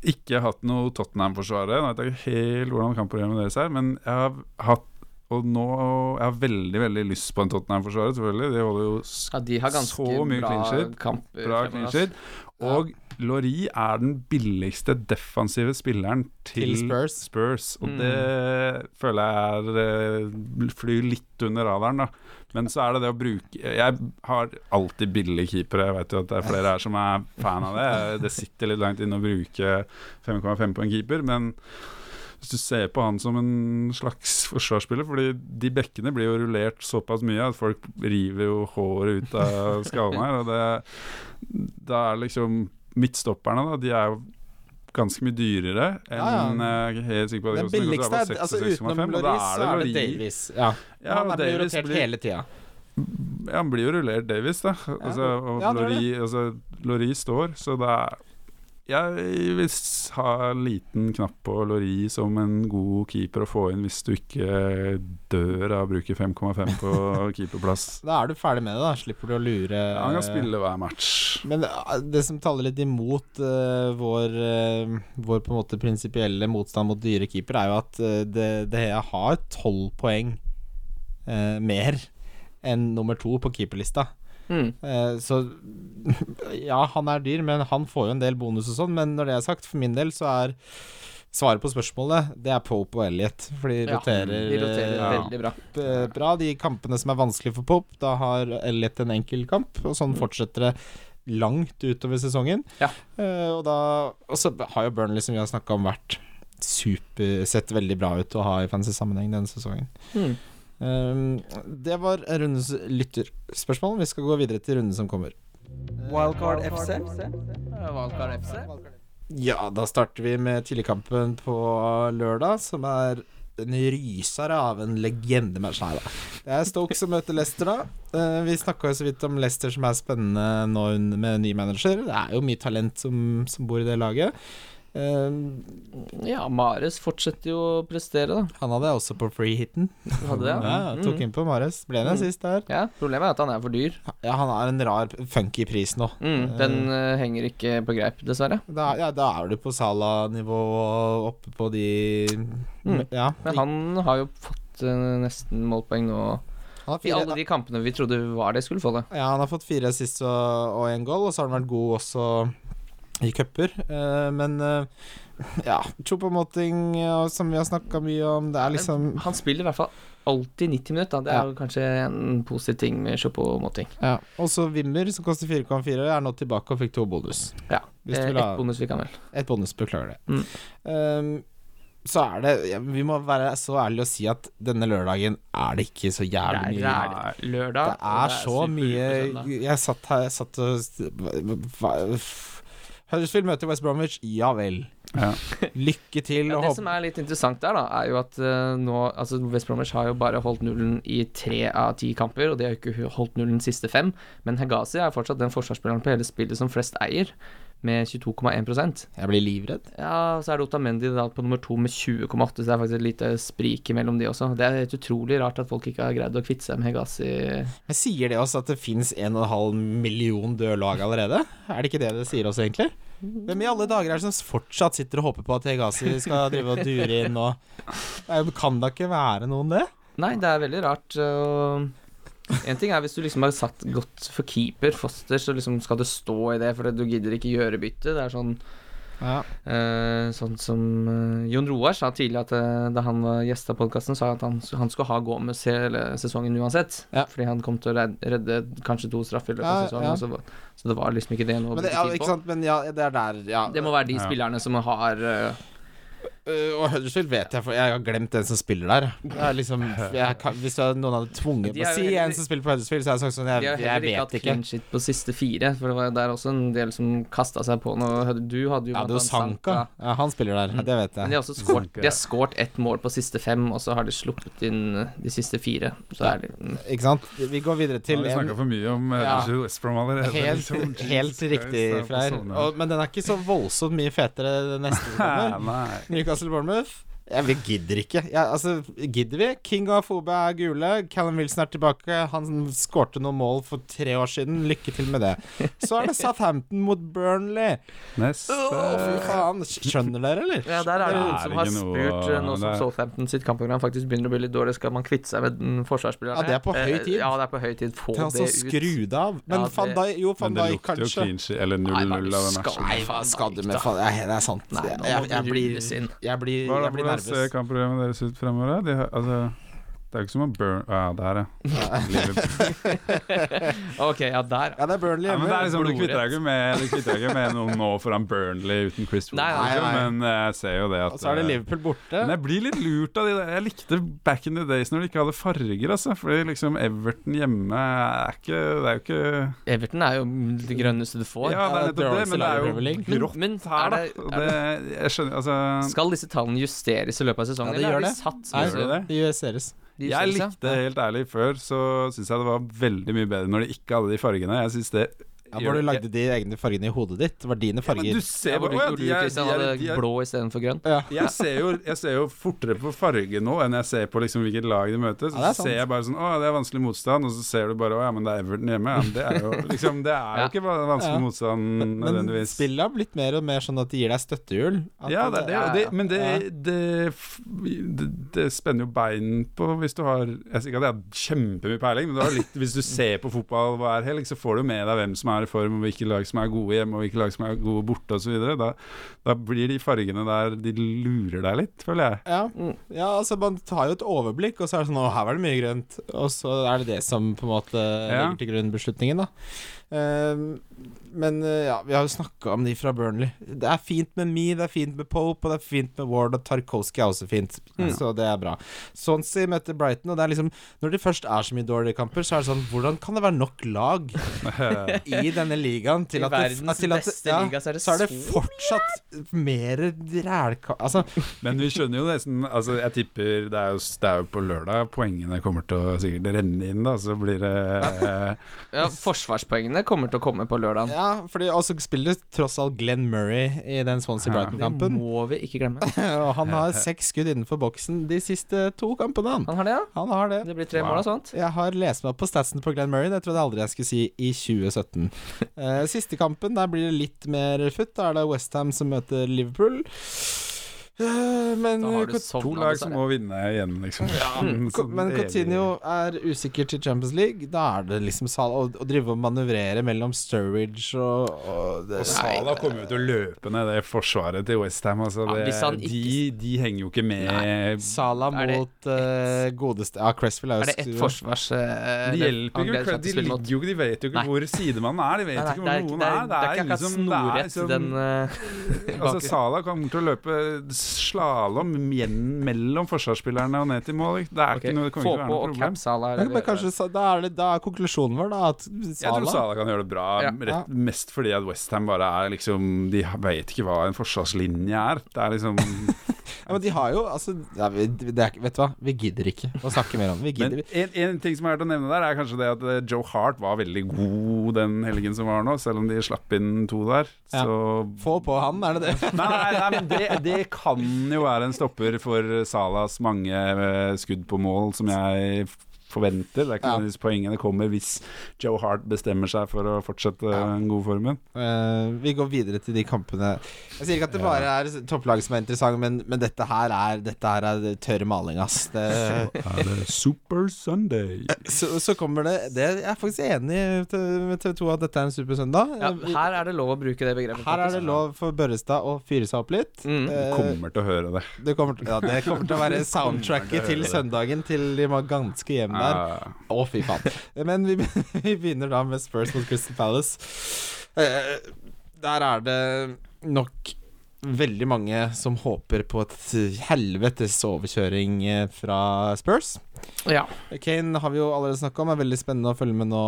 S4: ikke hatt noe Tottenham-forsvarere. Nå vet jeg ikke helt hvordan kampprogrammet deres er, men jeg har hatt og nå Jeg har veldig veldig lyst på en Tottenham-forsvarer, selvfølgelig. De holder jo s-
S3: Ja, de har ganske
S4: Så mye
S3: bra
S4: clean sheet.
S3: kamper.
S4: bra
S3: fremover,
S4: clean
S3: ass.
S4: sheet. Og Laurie er den billigste defensive spilleren til,
S2: Til Spurs.
S4: Og
S3: Mm.
S4: det føler jeg er eh, flyr litt under radaren, da. Men så er det det å bruke Jeg har alltid billige keepere. Jeg vet jo at det er flere her som er fan av det. Det sitter litt langt inne å bruke 5,5 på en keeper, men hvis du ser på han som en slags forsvarsspiller Fordi de bekkene blir jo rullert såpass mye at folk river jo håret ut av skallen her. Og det, da er liksom Midtstopperne, da, de er jo ganske mye dyrere enn eh,
S2: Ja, ja.
S4: Jeg er helt sikker på at
S2: Den
S4: de koster
S2: billigste
S4: bare
S2: er altså
S4: 6,6,5,
S2: Utenom
S4: og da
S2: Loris, så er det
S4: Lori.
S2: Davies. Ja.
S4: Ja,
S2: han er blitt
S4: Davies
S2: rotert
S4: blir-
S2: hele tida.
S4: ja, han blir jo rullert Davies, da. Altså, og
S2: Ja, han gjør
S4: Lori, altså, Lori står, så det er jeg vil s- ha en liten knapp på Lori som en god keeper å få inn hvis du ikke dør av å bruke 5,5 på keeperplass.
S2: Da er du ferdig med det, da. Slipper du å lure
S4: Han kan spille hver match.
S2: Men det, det som taler litt imot eh, vår, eh, vår på en måte prinsipielle motstand mot dyre keepere, er jo at eh, det, det har tolv poeng eh, mer enn nummer to på keeperlista.
S3: Mm.
S2: Eh, så ja, han er dyr, men han får jo en del bonus og sånn. Men når det er sagt, for min del så er svaret på spørsmålet Det er Pope og Elliot, for de
S3: Ja,
S2: roterer,
S3: De roterer
S2: eh,
S3: veldig bra.
S2: eh, bra. De kampene som er vanskelig for Pope, da har Elliot en enkel kamp, og sånn fortsetter det langt utover sesongen.
S3: Ja.
S2: Eh, og da Og så har jo Burnley, som vi har snakka om, vært super Sett veldig bra ut å ha i fantasy-sammenheng denne sesongen.
S3: Mm.
S2: Um, det var rundens lytterspørsmål. Vi skal gå videre til runden som kommer.
S1: Wildcard FC.
S3: Valgkart FC.
S2: Ja, da starter vi med tidligkampen på lørdag, som er en rysere av en legendematch. Nei da. Det er Stoke som møter Leicester, da. Eh, vi snakka jo så vidt om Leicester, som er spennende nå un- med ny manager. Det er jo mye talent som, som bor i det laget. Eh,
S3: Ja, Mares fortsetter jo å prestere, da.
S2: han hadde jeg også på freehiten.
S3: Hadde det, ja.
S2: Ja, tok inn på Mares. Ble det
S3: Mm.
S2: sist der.
S3: ja. Problemet er at han er for dyr.
S2: Ja, han er en rar, funky pris nå.
S3: Mm, den eh, henger ikke på greip, dessverre.
S2: Da, ja, da er du på Sala-nivå og oppe på de
S3: Mm.
S2: Ja.
S3: Men han har jo fått eh, nesten målpoeng nå.
S2: Han har
S3: I
S2: fire,
S3: alle de kampene vi trodde var det skulle få det.
S2: ja, han har fått fire assist og og en goal, og så har han vært god også i cuper. Eh, men eh, ja, Chopomoting, som vi har snakka mye om, det er liksom
S3: Han spiller i hvert fall alltid 90 minutter. da. Det
S2: Ja.
S3: er jo kanskje en positiv ting med Chopo-måting.
S2: ja. Også Wimmer, som koster 4,4, er nå tilbake og fikk to bonus.
S3: Ja.
S2: Hvis du
S3: Eh,
S2: vil ha
S3: Ett bonus vi kan vel.
S2: Et bonus, beklager det.
S3: Mm.
S2: Ehm, så er det ja, Vi må være så ærlige og si at denne lørdagen er det ikke så jævlig mye
S3: Det er lørdag.
S2: Det
S3: og
S2: er så
S3: superuke
S2: mye
S3: søndag.
S2: Jeg satt her jeg satt og hva- f- Huddersfield møter West Bromwich, ja vel.
S4: Ja.
S2: Lykke til.
S3: Ja,
S2: og
S3: det
S2: håp-
S3: som er litt interessant der, da, er jo at eh, nå Altså, West Bromwich har jo bare holdt nullen i tre av ti kamper, og de har jo ikke holdt nullen de siste fem, men Hegazi er fortsatt den forsvarsspilleren på hele spillet som flest eier, med 22,1
S2: Jeg blir livredd.
S3: Ja, så er det Otamendi da på nummer to med 20,8, så det er faktisk et lite sprik imellom de også. Det er helt utrolig rart at folk ikke har greid å kvitte seg med Hegazi.
S2: Men Sier det oss at det fins 1,5 million døde lag allerede? Er det ikke det det sier oss, egentlig? Hvem i alle dager er det som fortsatt sitter og håper på at Hegazi skal drive og dure inn og Nei, Kan da ikke være noen det?
S3: Nei, det er veldig rart. og en ting er hvis du liksom har satt godt for keeper, Foster, så liksom skal det stå i det, for du gidder ikke gjøre bytte. Det er sånn
S2: Ja.
S3: Eh, sånn som eh, Jon Roar sa tidlig at eh, da han var gjest av podkasten, sa han at han, han skulle ha Gomez hele sesongen uansett.
S2: Ja.
S3: Fordi han kom til å red- redde kanskje to straffer i løpet
S2: Ja,
S3: av sesongen.
S2: ja.
S3: Så, var- så det var liksom ikke det noe å
S2: Men det,
S3: bruke
S2: ja,
S3: tid
S2: ikke
S3: på.
S2: sant? Men ja, det er der, ja.
S3: Det må være de
S4: Ja.
S3: spillerne som har eh,
S2: Øh, og Huddersfield vet jeg, for jeg har glemt den som spiller der. Jeg er liksom, jeg kan, hvis jeg, noen hadde tvunget
S3: De
S2: meg
S3: har
S2: å si
S3: jo heller-
S2: en som spiller på Huddersfield, så hadde jeg sagt sånn
S3: De har
S2: Jeg,
S3: jo
S2: jeg
S3: heller ikke hatt
S2: vet ikke.
S3: clean shit på siste fire, for det var der også en del som kasta seg på noe. Du hadde jo
S2: Ja,
S3: blant
S2: det er jo
S3: annet
S2: Sanka. Ja, han spiller der, det vet
S3: Men
S2: jeg.
S3: de har også skårt,
S4: Sanka,
S3: de
S4: ja.
S3: har skåret ett mål på siste fem, og så har de sluppet inn eh, de siste fire. Så er det mm.
S2: Ikke sant? Vi går videre til
S4: Til vi snakka
S2: en
S4: for mye om eh,
S2: Ja.
S4: Huddersfield West Brom allerede.
S2: helt,
S4: liksom.
S2: helt
S4: Jesus Christ,
S2: riktig,
S4: det er på
S2: Freyr.
S4: sånn,
S2: Og- Men den er ikke så voldsomt mye fetere den neste som
S4: ja.
S2: kommer.
S4: Hæ, Nei.
S2: Newcastle Bournemouth. Jeg vi gidder ikke. Jeg, altså, gidder vi? King og Fobe er gule. Callum Wilson er tilbake. Han skårte noen mål for tre år siden. Lykke til med det. Så er det Southampton mot Burnley. Å, fy
S4: Neste.
S2: faen. Skjønner dere, eller?
S3: Ja, der er det
S4: Det
S3: noen
S4: er
S3: som har
S4: ikke noe-
S3: spurt eh, nå som
S4: det er-
S3: Southampton sitt kampprogram faktisk begynner å bli litt dårlig, skal man kvitte seg med den forsvarsspilleren?
S2: Ja, det er på høy
S3: Eh,
S2: tid.
S3: Ja, det er på høy tid. Få
S2: Til han som
S3: det ut.
S2: skrudde av. Men
S3: Ja, det-
S2: van Dijk Jo, van
S4: Men det
S2: Dijk,
S4: lukter jo
S2: kanskje.
S4: clean sheet, eller 0-0
S3: Nei,
S4: av
S3: men
S4: den
S3: skal-
S4: matchen.
S2: Nei, hva skal du med van Nei, det er sant.
S3: Nei,
S2: Jeg,
S3: nå må
S2: jeg,
S3: du
S2: jeg,
S3: rules
S2: blir,
S3: inn.
S2: jeg, blir, jeg blir
S4: Hvordan ser
S2: nervøs.
S4: kampprogrammet deres ut fremover? da? De har, altså, det er jo ikke som å burn... Ja, der, ja. Liverpool.
S3: Ok, ja, der.
S2: Ja, det er Burnley
S4: ja men det
S2: hjemme.
S4: er liksom, du
S3: Blodrett.
S4: kvitter deg ikke med, du kvitter deg ikke med noen nå foran Burnley uten Chris
S3: Nei, nei,
S4: Wood,
S2: nei.
S4: men eh, jeg ser jo det at
S2: Og så er det Liverpool borte.
S4: Men jeg blir litt lurt av de der. Jeg likte back in the days når de ikke hadde farger, altså. Fordi liksom Everton hjemme er ikke Det er jo ikke
S3: Everton er jo det grønneste du får.
S4: Ja, det er
S2: det
S4: nettopp det,
S2: dårligste
S4: men det
S2: laget i Premier
S4: er
S2: League.
S4: jo grått
S3: men
S4: her, da.
S3: er det,
S4: Og
S3: er det,
S4: det, jeg skjønner, altså
S3: skal disse tallene justeres i løpet av sesongen?
S2: Ja, det
S3: eller
S2: gjør
S3: er
S2: det.
S3: Satt, som
S2: Nei,
S4: Gjør
S3: så-
S4: de det?
S2: De justeres.
S3: de
S4: Jeg
S3: justeres, ja?
S4: likte helt ærlig før, så syns jeg det var veldig mye bedre når de ikke hadde de fargene. Jeg syns det
S2: Ja, hvor du lagde de egne fargene i hodet ditt? Det var dine
S4: Ja, men
S2: farger.
S4: du ser
S3: hvor
S4: bare
S3: du,
S4: Å ja,
S3: hvor du
S4: de er-
S3: Christian,
S4: de er-
S3: hadde
S4: de er-
S3: blå istedenfor grønn.
S2: Ja.
S4: jeg ser, jo, jeg ser jo fortere på farge nå enn jeg ser på liksom hvilket lag de møtes.
S2: Ja, det er
S4: Og så
S2: sant.
S4: ser jeg bare sånn Å, det er vanskelig motstand. Og så ser du bare Å ja, men det er Everton hjemme. Ja, men det er jo liksom Det er jo
S3: Ja.
S4: ikke va- vanskelig
S2: Ja.
S4: motstand
S2: Men, men
S4: nødvendigvis.
S2: spillet har blitt mer og mer sånn at de gir deg støttehjul. At
S4: Ja, det er det.
S3: Ja,
S4: og
S3: ja.
S4: det men det,
S2: Ja.
S4: det, f- det, det spenner jo bein på hvis du har Jeg sier ikke at jeg har kjempemye peiling, men du har litt, hvis du ser på fotball hver helg, så får du med deg hvem som er i form, og hvilke lag som er gode hjemme, og hvilke lag som er gode borte, osv. Da, da blir de fargene der De lurer deg litt, føler jeg.
S2: Ja.
S3: Mm.
S2: ja, altså man tar jo et overblikk, og så er det sånn Å, her var det mye grønt. Og så er det det som på en måte
S4: Ja.
S2: ligger til grunn beslutningen, da. Ehm, men eh, ja, vi har jo snakka om de fra Burnley. Det er fint med Me, det er fint med Pope, og det er fint med Ward, og Tarkovsky er også fint.
S3: Mm.
S2: Så det er bra. Swansea møter Brighton, og det er liksom Når det først er så mye dårlige kamper, så er det sånn Hvordan kan det være nok lag i denne ligaen til
S3: I
S2: at det-
S3: verdens
S2: til at det-
S3: beste liga så er det
S2: så er det
S3: så
S2: fortsatt mer rælka... Altså,
S4: Men vi skjønner jo nesten Altså, jeg tipper det er jo, det er jo på lørdag poengene kommer til å sikkert renne inn, da. Så blir det eh,
S3: Ja, forsvarspoengene kommer til å komme på lørdagen.
S2: Ja, fordi også spiller tross alt Glenn Murray i den
S3: Det
S2: Swansea-Brighton-kampen.
S3: må vi ikke glemme.
S2: Og han har seks skudd innenfor boksen de siste to kampene. Han,
S3: Han har det, ja.
S2: han har det.
S3: Det blir tre
S4: Wow.
S3: mål og sånt.
S2: Jeg har lest meg opp på statsen på Glenn Murray, det trodde jeg aldri jeg skulle si i 2017. Eh, siste kampen, der blir det litt mer futt. Da er det Westham som møter Liverpool. Eh, men
S3: Da har du
S2: Cot-
S4: To
S3: sovna,
S4: lag som
S3: dessverre.
S4: må vinne igjen, liksom.
S2: Co- Men Coutinho er usikker til Champions League. Da er det liksom sal å, å drive og manøvrere mellom Sturridge og, og det-
S4: Og Sala kommer jo til å løpe ned det forsvaret til Westham. Altså,
S3: Ja,
S4: det,
S3: hvis han ikke-
S4: de, de henger jo ikke med.
S2: Sala
S3: Er det
S2: mot eh, godeste Ja, Cressfield er jo
S3: Er det ett
S2: skru-
S3: forsvars... eh,
S4: De hjelper jo
S3: angrep
S4: ikke,
S3: som
S4: de
S3: spiller mot-
S4: ligger jo ikke De vet jo ikke
S3: Nei.
S4: hvor sidemannen er, de vet
S3: Nei,
S4: ikke
S3: nei,
S4: hvor
S3: det
S4: noen
S3: er
S4: er.
S3: ikke- Det er ikke akkurat snorrett i den eh,
S4: altså,
S3: baken.
S4: Sala kommer til å løpe slalåm mellom forsvarsspillerne og ned til mål. ikke? Det er
S3: Ok,
S4: ikke noe, det kommer
S3: Få
S4: ikke
S3: på
S4: til å være noe
S3: og
S4: problem.
S3: cap Sala.
S2: Ja, Men kanskje sa- da er, det, da er konklusjonen vår da at
S4: Jeg tror
S2: Sala
S4: Sala kan gjøre det bra,
S3: Ja.
S4: rett, mest fordi at Westham bare er liksom De vet ikke hva en forsvarslinje er. Det er liksom
S2: ja, Men de har jo altså ja, vi, det er, ikke- Vet du hva, vi gidder ikke å snakke mer om det. Vi
S4: Men
S2: gidder
S4: en, en ting som er til å nevne der, er kanskje det at eh, Joe Hart var veldig god den helgen som var nå, selv om de slapp inn to der.
S2: Ja.
S4: Så
S2: Få på han, er det det?
S4: Nei, nei, nei men det, det kan jo være en stopper for Salas mange eh, skudd på mål som jeg f- forventer. Det er ikke
S2: Ja.
S4: nødvendigvis poengene kommer hvis Joe Hart bestemmer seg for å fortsette
S2: Ja.
S4: den gode formen.
S2: Eh, vi går videre til de kampene. Jeg sier ikke at det bare er topplaget som er interessant, men, men dette her er Dette her er tørr maling, ass. Det,
S4: Er det Super Sunday?
S2: så, så kommer det, det Jeg er faktisk enig med TV 2 at dette er en supersøndag. Eh,
S3: Ja, her er det lov å bruke det begrepet.
S2: her er det
S3: faktisk.
S2: lov for Børrestad å fyre seg opp litt.
S3: Mm.
S4: Du
S2: Eh,
S4: kommer til å høre det.
S2: Det kommer, til, ja, det kommer til å være soundtracket til søndagen til de var ganske hjemme der.
S4: Ja.
S2: Å, fy faen. Men vi, be- vi begynner da med Spurs mot Crystal Palace. Eh, der er det nok veldig mange som håper på et helvetes overkjøring eh, fra Spurs.
S3: Ja.
S2: Kane har vi jo allerede snakka om. Det er veldig spennende å følge med nå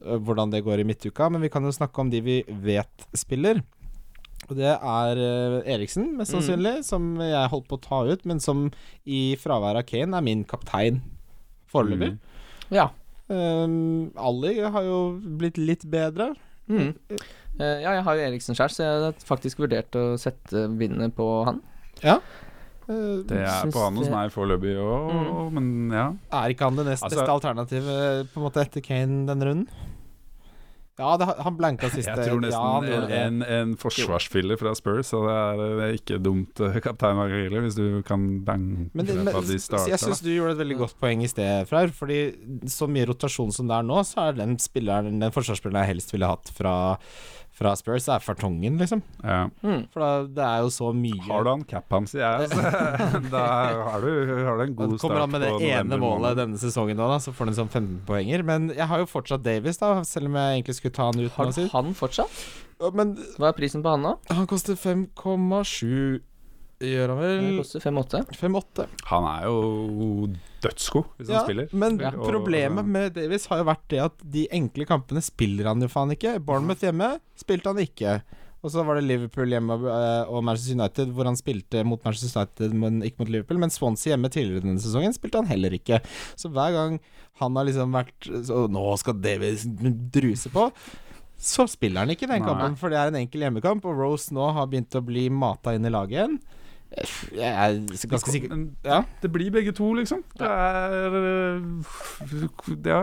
S2: eh, hvordan det går i midtuka. Men vi kan jo snakke om de vi vet spiller. Og det er eh, Eriksen, mest
S3: Mm.
S2: sannsynlig, som jeg holdt på å ta ut, men som i fravær av Kane er min kaptein foreløpig.
S4: Mm.
S3: ja.
S2: Um, Ali har jo blitt litt bedre.
S3: Mm. Eh, ja, jeg har jo Eriksen sjøl, så jeg har faktisk vurdert å sette bindet på han.
S2: Uh,
S4: Det er
S3: Syns
S4: på han hos
S3: det-
S4: meg foreløpig
S3: Mm.
S4: òg, men ja.
S2: Er ikke han det nest
S4: Altså-
S2: beste alternativet på en måte etter Kane denne runden? Ja, det, han blanka siste.
S4: Jeg tror
S2: ja, han
S4: nesten
S2: gjorde det.
S4: en, en, en forsvarsspiller fra Spurs, så det er, det er ikke dumt, eh, kaptein Magrille, hvis du kan bange
S2: Men, det,
S4: for
S2: men altså,
S4: at de starter.
S2: jeg syns du gjorde et veldig godt poeng i sted, Freyr. Fordi så mye rotasjon som det er nå, så er den spilleren Den forsvarsspilleren jeg helst ville hatt fra, fra Spurs, det er Fartongen, liksom.
S4: da. ja.
S3: Mm.
S2: For da, det er jo så mye
S4: Har du han cap hans i ass, da har du, har du
S2: Og
S4: en god start.
S2: Kommer han med det
S4: på
S2: ene
S4: november
S2: målet
S4: måned.
S2: denne sesongen nå, da, så får han sånn 15 poenger. Men jeg har jo fortsatt Davies, da, selv om jeg egentlig skulle ta han ut.
S3: Har
S2: nå,
S3: du
S2: sier-
S3: han fortsatt?
S2: Men
S3: Hva er prisen på han nå?
S2: han koster 5,7, gjør han
S3: Den
S2: vel?
S3: koster 5,8.
S2: 5,8.
S4: Han er jo dødsgod hvis han spiller.
S2: Men
S3: Ja.
S2: problemet med Davies har jo vært det at de enkle kampene spiller han jo faen ikke. Bournemouth hjemme spilte han ikke. Og så var det Liverpool hjemme eh, og Manchester United, hvor han spilte mot Manchester United, men ikke mot Liverpool. Men Swansea hjemme tidligere denne sesongen spilte han heller ikke. Så hver gang han har liksom vært så, Nå skal Davies druse på. så spiller han ikke den
S4: Nei.
S2: kampen, for det er en enkel hjemmekamp, og Rose nå har begynt å bli mata inn i laget igjen. Jeg er ganske sikker
S4: Men
S2: Ja.
S4: Det blir begge to, liksom. Det er øh, Ja.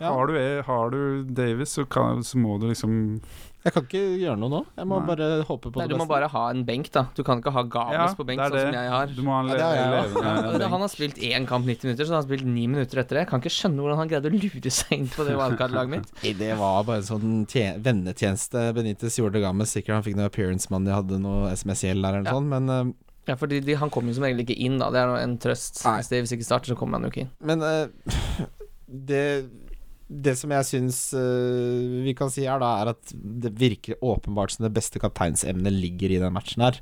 S2: Ja.
S4: Har, du, E, har du Davis, så, kan, så må du liksom
S2: Jeg kan ikke gjøre noe nå. Jeg må
S4: Nei.
S2: bare håpe på
S3: Nei,
S2: det
S3: du må
S2: beste.
S3: bare ha en benk, da. Du kan ikke ha Games
S4: Ja,
S3: på benk,
S4: det er
S3: sånn som
S4: det.
S3: jeg har.
S4: Du må ha en
S2: Ja,
S4: le
S2: det er jeg
S3: Ja, men
S4: levende
S3: Han har spilt én kamp 90 minutter, så han har spilt 9 minutter etter det. Jeg kan ikke skjønne hvordan han greide å lure seg inn på det wildcard-laget mitt.
S2: Nei, Det var bare en sånn tje- vennetjeneste Benitez gjorde Games. Sikkert han fikk noe appearance man de hadde noe SMS-gjeld der eller noe
S3: Ja.
S2: sånt, men eh,
S3: Ja, fordi de, Han kommer jo som regel ikke inn, da. Det er nå en trøst.
S2: Nei.
S3: Hvis det- Hvis ikke starter, så kommer han jo ikke inn.
S2: Men eh, det det som jeg syns eh, vi kan si her, da, er at det virker åpenbart som det beste kapteinsemnet ligger i den matchen her.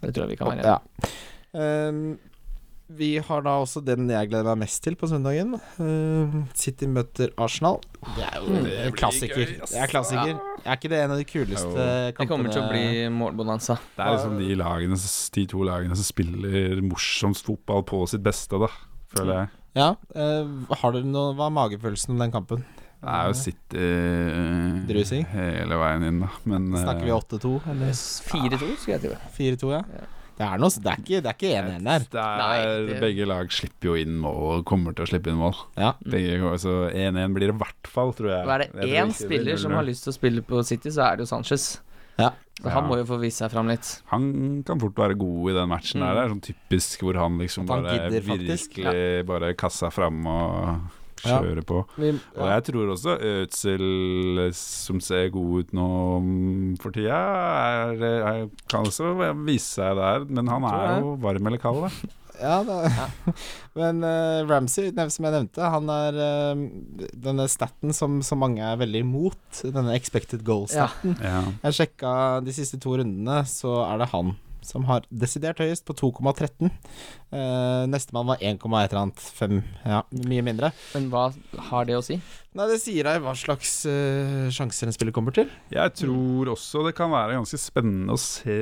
S3: Det tror jeg vi kan være enige om.
S2: Ja. Ehm, vi har da også den jeg gleder meg mest til på søndagen. Ehm, City møter Arsenal. Det er
S3: Mm,
S2: jo en klassiker.
S4: gøy, ass.
S2: Det er klassiker. Er ikke det en av de kuleste kampene?
S3: Det kommer til å bli målbonanza.
S4: Det er liksom de, lagene, som- de to lagene som spiller morsomst fotball på sitt beste, da, føler jeg.
S2: Ja. eh, har dere noe Hva er magefølelsen om den kampen?
S4: Det er jo City øh,
S2: Drusing?
S4: hele veien inn, da. Men øh,
S2: Snakker vi 8-2 eller
S3: 4-2, skulle jeg tro.
S2: 4-2 ja?
S3: Ja.
S2: Det er noe Det er ikke, det er ikke 1-1 der.
S4: Det er,
S3: Nei, det-
S4: Begge lag slipper jo inn mål, og kommer til å slippe inn mål.
S2: Ja.
S4: Begge, går- så 1-1 blir det i hvert fall, tror
S3: Mm.
S4: jeg.
S3: Og er det
S4: Jeg tror
S3: én
S4: ikke det blir
S3: spiller som
S4: 0-0.
S3: har lyst til å spille på City, så er det jo Sanchez.
S2: Ja.
S3: Så han
S4: Ja.
S3: må jo få vise seg fram litt.
S4: Han kan fort være god i den matchen
S3: Mm.
S4: der. Det er sånn typisk hvor han liksom
S2: At han
S4: bare
S2: gidder, faktisk.
S4: virkelig bare kassa fram og
S2: Ja.
S4: kjører på.
S2: Vi,
S4: Og jeg tror også Ødsel, eh, som ser god ut nå mm, for tida, er, eh, er, kan også vise seg der, men han
S3: Tror
S4: er
S3: jeg.
S4: jo varm eller kald, da.
S2: Ja, da. Men eh, Ramsey, nev- som jeg nevnte, han er eh, denne staten som, som mange er veldig imot. Denne expected
S3: Ja.
S2: goal-staten.
S4: Ja.
S2: Jeg sjekka de siste to rundene, så er det han som har desidert høyest, på 2,13. Uh, Nestemann var 1, et eller annet. 5. Ja, mye mindre.
S3: Men hva har det å si?
S2: Nei, det sier deg hva slags eh, sjanser en spiller kommer til.
S4: Jeg tror også det kan være ganske spennende å se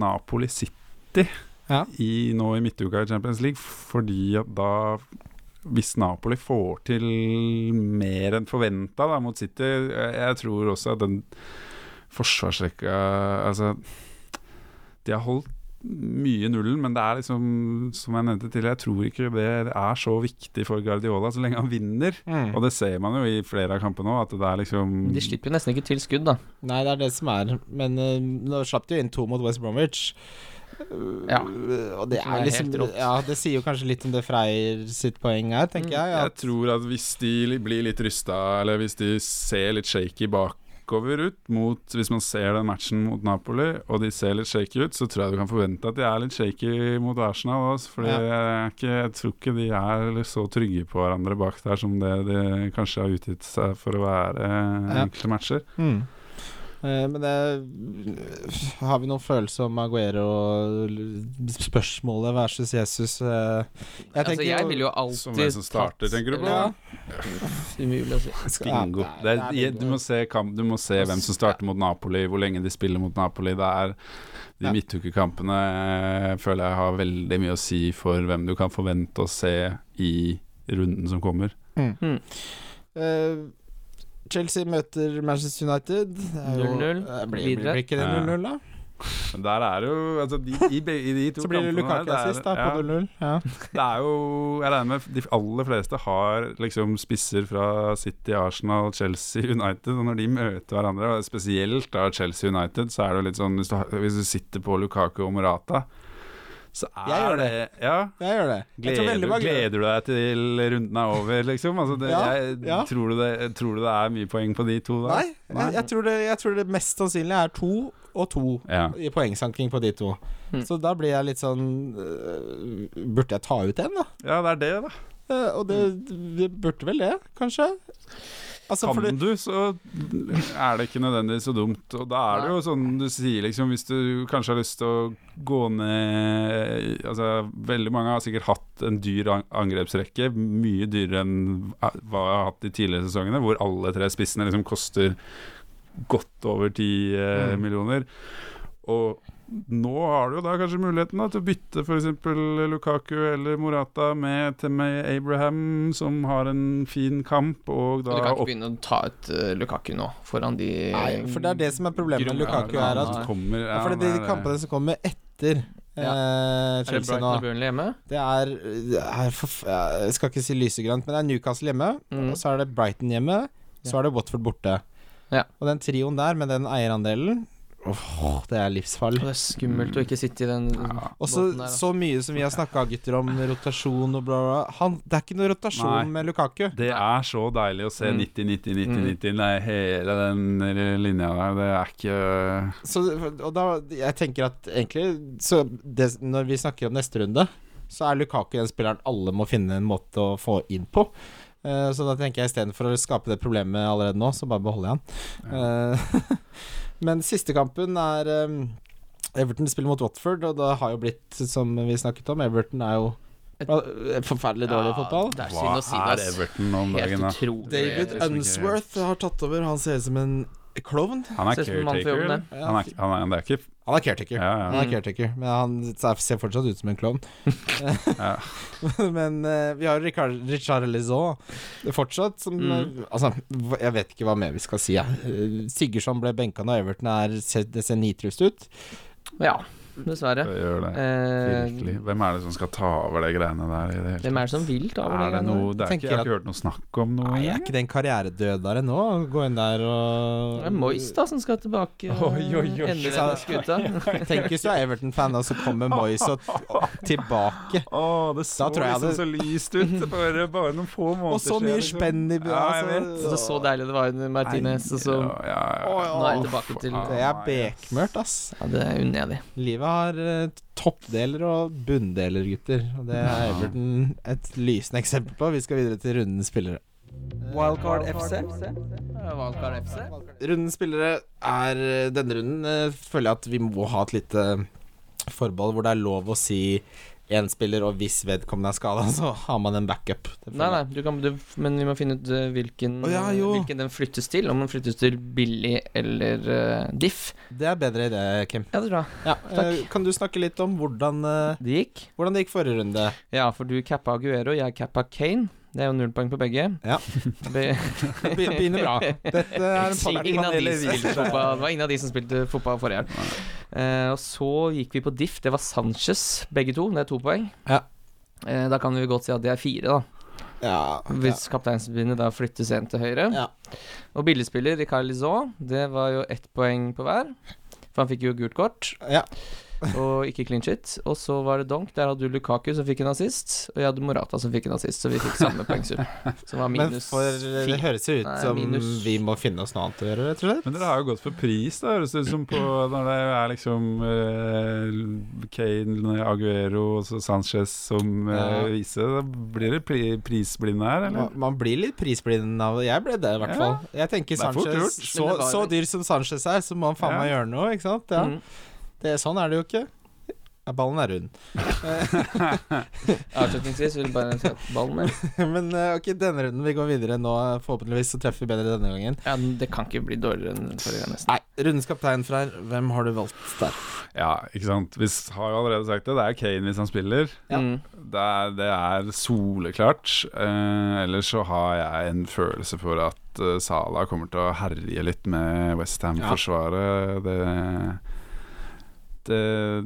S4: Napoli City
S2: Ja.
S4: i, nå i midtuka i Champions League, fordi at da hvis Napoli får til mer enn forventa mot City Jeg jeg tror også at den forsvarsrekka Altså, de har holdt mye nullen, men det er liksom, som jeg nevnte tidligere, jeg tror ikke det er så viktig for Guardiola så lenge han vinner.
S3: Mm.
S4: Og det ser man jo i flere av kampene òg, at det er liksom
S3: De slipper jo nesten ikke til skudd, da.
S2: Nei, det er det som er. Men eh, nå slapp de jo inn to mot West Bromwich.
S3: Ja.
S2: Og det
S3: Det
S2: er
S3: er
S2: liksom
S3: helt rått.
S2: Ja, det sier jo kanskje litt om det Freyr sitt poeng er, tenker
S3: Mm.
S2: jeg.
S4: Jeg
S2: At,
S4: tror at hvis de li- blir litt rysta, eller hvis de ser litt shaky bakover ut mot, Hvis man ser den matchen mot Napoli, og de ser litt shaky ut, så tror jeg du kan forvente at de er litt shaky mot Arsenal òg. For jeg, er ikke- jeg tror ikke de er så trygge på hverandre bak der som det de kanskje har utgitt seg for å være
S2: Ja.
S4: enkelte matcher.
S2: mm. Eh, Men det Har vi noen følelse om Aguero og spørsmålet versus Jesus? eh? Jeg
S3: altså, jeg ville jo
S4: Som
S3: alltid
S4: hvem som starter,
S3: tatt-
S4: tenker du på?
S3: Ja. Umulig å si.
S4: Bingo. Det er, du må se, kamp, du må se hvem som starter mot Napoli, hvor lenge de spiller mot Napoli. Det er
S2: Ja.
S4: de midtukekampene eh, føler jeg har veldig mye å si for hvem du kan forvente å se i runden som kommer.
S2: Eh, Chelsea møter Manchester United. Det er jo-
S3: 0-0.
S2: Eh, Blir, blir
S3: Videre.
S2: ikke det
S4: Ja.
S2: 0-0, da?
S4: Men der er jo altså, de, i, be- i de to
S2: Så blir det
S4: kampene der,
S2: Lukaku assist, da, på
S4: er,
S2: 0-0. Ja.
S4: ja, det er jo Jeg regner med de aller fleste har liksom spisser fra City, Arsenal, Chelsea, United. Og når de møter hverandre, og spesielt da Chelsea United, så er det jo litt sånn Hvis du, har- hvis du sitter på Lukaku og Morata, så er
S2: Jeg gjør
S4: det ja,
S2: Jeg gjør det. Jeg tror
S4: Gleder,
S2: veldig mange-
S4: gleder du deg til runden er over, liksom? Altså, det,
S2: Ja,
S4: jeg,
S2: ja.
S4: Tror, du det, tror du det er mye poeng på de to da?
S2: Nei, jeg, jeg, tror det, jeg tror det mest sannsynlige er to og to
S4: Ja.
S2: i poengsanking på de to.
S3: Mm.
S2: Så da blir jeg litt sånn øh, Burde jeg ta ut en, da?
S4: ja, det er det, da.
S2: Eh, og det, det burde vel det, kanskje? Altså,
S4: Kan
S2: fordi-
S4: du, så er det ikke nødvendigvis så dumt. Og da er det jo sånn du sier, liksom, hvis du kanskje har lyst til å gå ned Altså, veldig mange har sikkert hatt en dyr an- angrepsrekke, mye dyrere enn hva jeg har hatt de tidligere sesongene, hvor alle tre spissene liksom koster godt over ti eh,
S2: Mm.
S4: millioner. Og nå har du jo da kanskje muligheten da, til å bytte f.eks. Lukaku eller Morata med Temay Abraham, som har en fin kamp, og
S3: Du
S4: da
S3: kan ikke
S4: opp...
S3: begynne å ta ut eh, Lukaku nå, foran de
S2: Nei, for det er det som er problemet med
S3: Grumme-
S2: Lukaku,
S3: Ja,
S2: er at
S3: han
S4: Eh, han kommer
S2: ja, For det er de kampene som kommer etter eh,
S3: Er det
S2: Chelsea
S3: Brighton
S2: nå
S3: og Burnley hjemme?
S2: Det er, det er forf- Jeg skal ikke si lysegrønt, men det er Newcastle hjemme.
S3: Mm.
S2: Og så er det Brighton hjemme. Så er det Watford borte.
S3: Ja.
S2: Og den trioen der, med den eierandelen Åh, det er livsfarlig.
S3: Og det er skummelt å ikke sitte i den
S4: Ja.
S2: Og så,
S3: båten der, altså.
S2: så mye som vi har snakka gutter om rotasjon og bla, bla. Han, det er ikke noe rotasjon
S4: Nei.
S2: med Lukaku.
S4: Det er så deilig å se
S3: Mm.
S4: 90-90-90-90 Nei, hele den linja der. Det er ikke
S2: Så, og da, jeg tenker at egentlig så det, Når vi snakker om neste runde, så er Lukaku den spilleren alle må finne en måte å få inn på. Eh, så da tenker jeg istedenfor å skape det problemet allerede nå, så bare beholder jeg han. Eh, men siste kampen er eh, Everton spiller mot Watford, og det har jo blitt som vi snakket om. Everton er jo eh, forferdelig dårlig i fotball.
S3: Det er
S4: Hva
S3: synd å si det.
S4: er
S3: ass.
S4: Everton om
S3: Helt
S4: dagen, da?
S3: utrolig.
S2: David um,
S4: det er liksom ikke-
S2: Unsworth har tatt over. Han ser ut som en klovn.
S4: Han er
S3: Ser ut som en mann for
S4: caretaker.
S3: jobben,
S4: eller? Han er, han er, det er ikke
S2: Han er caretaker.
S4: Ja, ja.
S2: Han er caretaker, men han ser ser fortsatt ut som en klovn.
S4: Ja.
S2: men eh, vi har Richard, Richard Lizot fortsatt, som
S3: Mm.
S2: eh, Altså, hva- jeg vet ikke hva mer vi skal si. jeg. Eh, Sigurdsson ble benka når Everton er ser- Det ser nitrist ut.
S3: Ja, dessverre.
S4: det gjør det. Virkelig.
S3: Eh,
S4: Hvem er det som skal ta over de greiene der? I det hele
S3: hvem er det som vil ta over
S4: Er det
S3: det?
S4: noe, det er
S2: Tenker
S4: ikke, jeg har
S2: at-
S4: ikke hørt noe snakk om noe.
S2: Nei, er
S4: eller?
S2: ikke det en karrieredødere nå? Å Gå inn der og
S3: Det er Moyes da som skal tilbake. eh,
S4: Oi, oi, oi.
S3: Endelig
S2: Sa-
S3: denne skuta.
S2: Tenk hvis du er Everton-fan, og så kommer Moyes og t- tilbake.
S4: Å, det så
S2: tror jeg
S4: liksom
S2: det-
S4: så lyst ut bare, bare noen få måneder
S2: Og så mye
S4: liksom.
S2: spenn i altså.
S4: Ja, jeg vet.
S3: Så det er så deilig det var under Martinez, og så
S4: Ja, ja, ja.
S2: Å, ja.
S3: Nå er jeg tilbake til
S2: Det er bekmørkt, ass.
S3: Ja, det er unnedig.
S2: Livet har eh, toppdeler og bunndeler, gutter. Og det er
S4: Ja.
S2: Everton et lysende eksempel på. Vi skal videre til rundens spillere.
S1: Wildcard FC.
S3: Valgkar FC.
S2: Rundens spillere er eh, Denne runden eh, føler jeg at vi må ha et lite eh, forbehold hvor det er lov å si én spiller, og hvis vedkommende er skada, så har man en backup. Det
S3: Nei,
S2: føler
S3: nei,
S2: jeg.
S3: du kan, du, men vi må finne ut eh, hvilken,
S2: Å, ja, jo.
S3: hvilken den flyttes til. Om den flyttes til Billy eller eh, Diff.
S2: Det er bedre idé, Kim.
S3: Ja, det tror jeg.
S2: Ja,
S3: takk.
S2: eh, Kan du snakke litt om hvordan, eh,
S3: Det gikk.
S2: hvordan det gikk forrige runde?
S3: Ja, for du cappa Aguero, jeg cappa Kane. Det er jo null poeng på begge.
S2: Ja.
S3: Be
S2: Be- Begynner bra. Dette er en
S3: ingen, av de som spilte
S2: podcast-
S3: fotball, det var ingen av de som spilte fotball forrige helg. Eh, og så gikk vi på Diff. Det var Sanchez, begge to. Det er to poeng.
S2: Ja.
S3: Eh, da kan vi godt si at det er fire, da.
S2: Ja, ja.
S3: Hvis kapteinsbindet da flyttes én til høyre.
S2: Ja.
S3: Og billedspiller Ricard Lizon, det var jo ett poeng på hver. For han fikk jo gult kort
S2: ja.
S3: og ikke clean shit. Og så var det Donk. Der hadde du Lukaku som fikk en assist. Og jeg hadde Morata som fikk en assist, så vi fikk samme poengsum. Som var
S2: Men
S3: minus
S2: for eh, det
S3: fire.
S2: høres jo ut
S3: Nei,
S2: som
S3: minus.
S2: vi må finne oss noe annet å gjøre, rett og slett.
S4: Men dere har jo gått for pris, da, høres det ut som, på når det er liksom eh, Kane, Aguero og så Sanchez som
S2: Ja.
S4: uh, viser. Da blir det pri prisblinde her, eller?
S2: Man, man blir litt prisblind av Jeg ble det, i hvert
S4: Ja.
S2: fall. Jeg tenker
S4: Det er fort
S2: Sanchez
S4: gjort.
S2: så,
S3: Men det var-
S2: så dyr som Sanchez er, så må han faen
S4: Ja.
S2: meg gjøre noe, ikke sant? Ja.
S3: Mm.
S2: Det, sånn er det jo ikke. Ja, ballen er rund.
S3: Avslutningsvis vil jeg bare si at ballen er
S2: Men eh, ok, denne runden, vi går videre nå. Forhåpentligvis så treffer vi bedre denne gangen.
S3: ja, men Det kan ikke bli dårligere enn forrige gang, nesten.
S2: Nei, rundens kaptein, Freyr, hvem har du valgt der?
S4: Ja, ikke sant. Vi har jo allerede sagt det. Det er Kane hvis han spiller.
S2: Ja.
S3: Mm.
S4: Det er, det er soleklart. Eh, ellers så har jeg en følelse for at eh, Salah kommer til å herje litt med Westham-forsvaret. Det, det,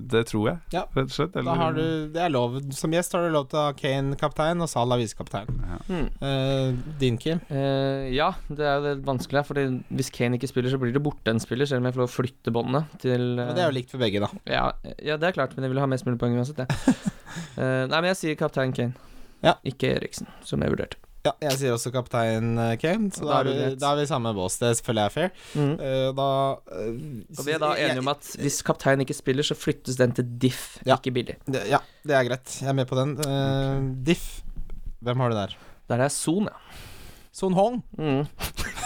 S4: det tror jeg,
S2: Ja.
S4: rett og slett.
S2: Da har du, det er lov, Som gjest har du lov til å ha Kane kaptein og Salah visekaptein.
S4: Ja.
S3: Mm.
S2: Eh, din, Kim?
S3: Eh, ja, det er jo det vanskelige. For hvis Kane ikke spiller, så blir det borte en spiller, selv om jeg får lov å flytte båndene til eh,
S2: Men det er jo likt for begge, da.
S3: Ja, ja, det er klart, men jeg vil ha mest mulig poeng uansett, jeg. Eh, nei, men jeg sier kaptein Kane.
S2: Ja.
S3: Ikke Eriksen, som jeg vurderte.
S2: Ja, jeg sier også kaptein eh, Kane, så da
S3: Da er
S2: er,
S3: du
S2: vi,
S3: rett.
S2: da er vi i samme bås. Det føler jeg er fair.
S3: Mhm.
S2: Eh, da eh,
S3: Og vi er da enige om at hvis kaptein ikke spiller, så flyttes den til Diff,
S2: Ja.
S3: ikke Billy.
S2: Det- Ja, det er greit. Jeg er med på den. Eh, Diff, hvem har du der?
S3: Der er Son, ja.
S2: Son Hong.
S3: Mhm.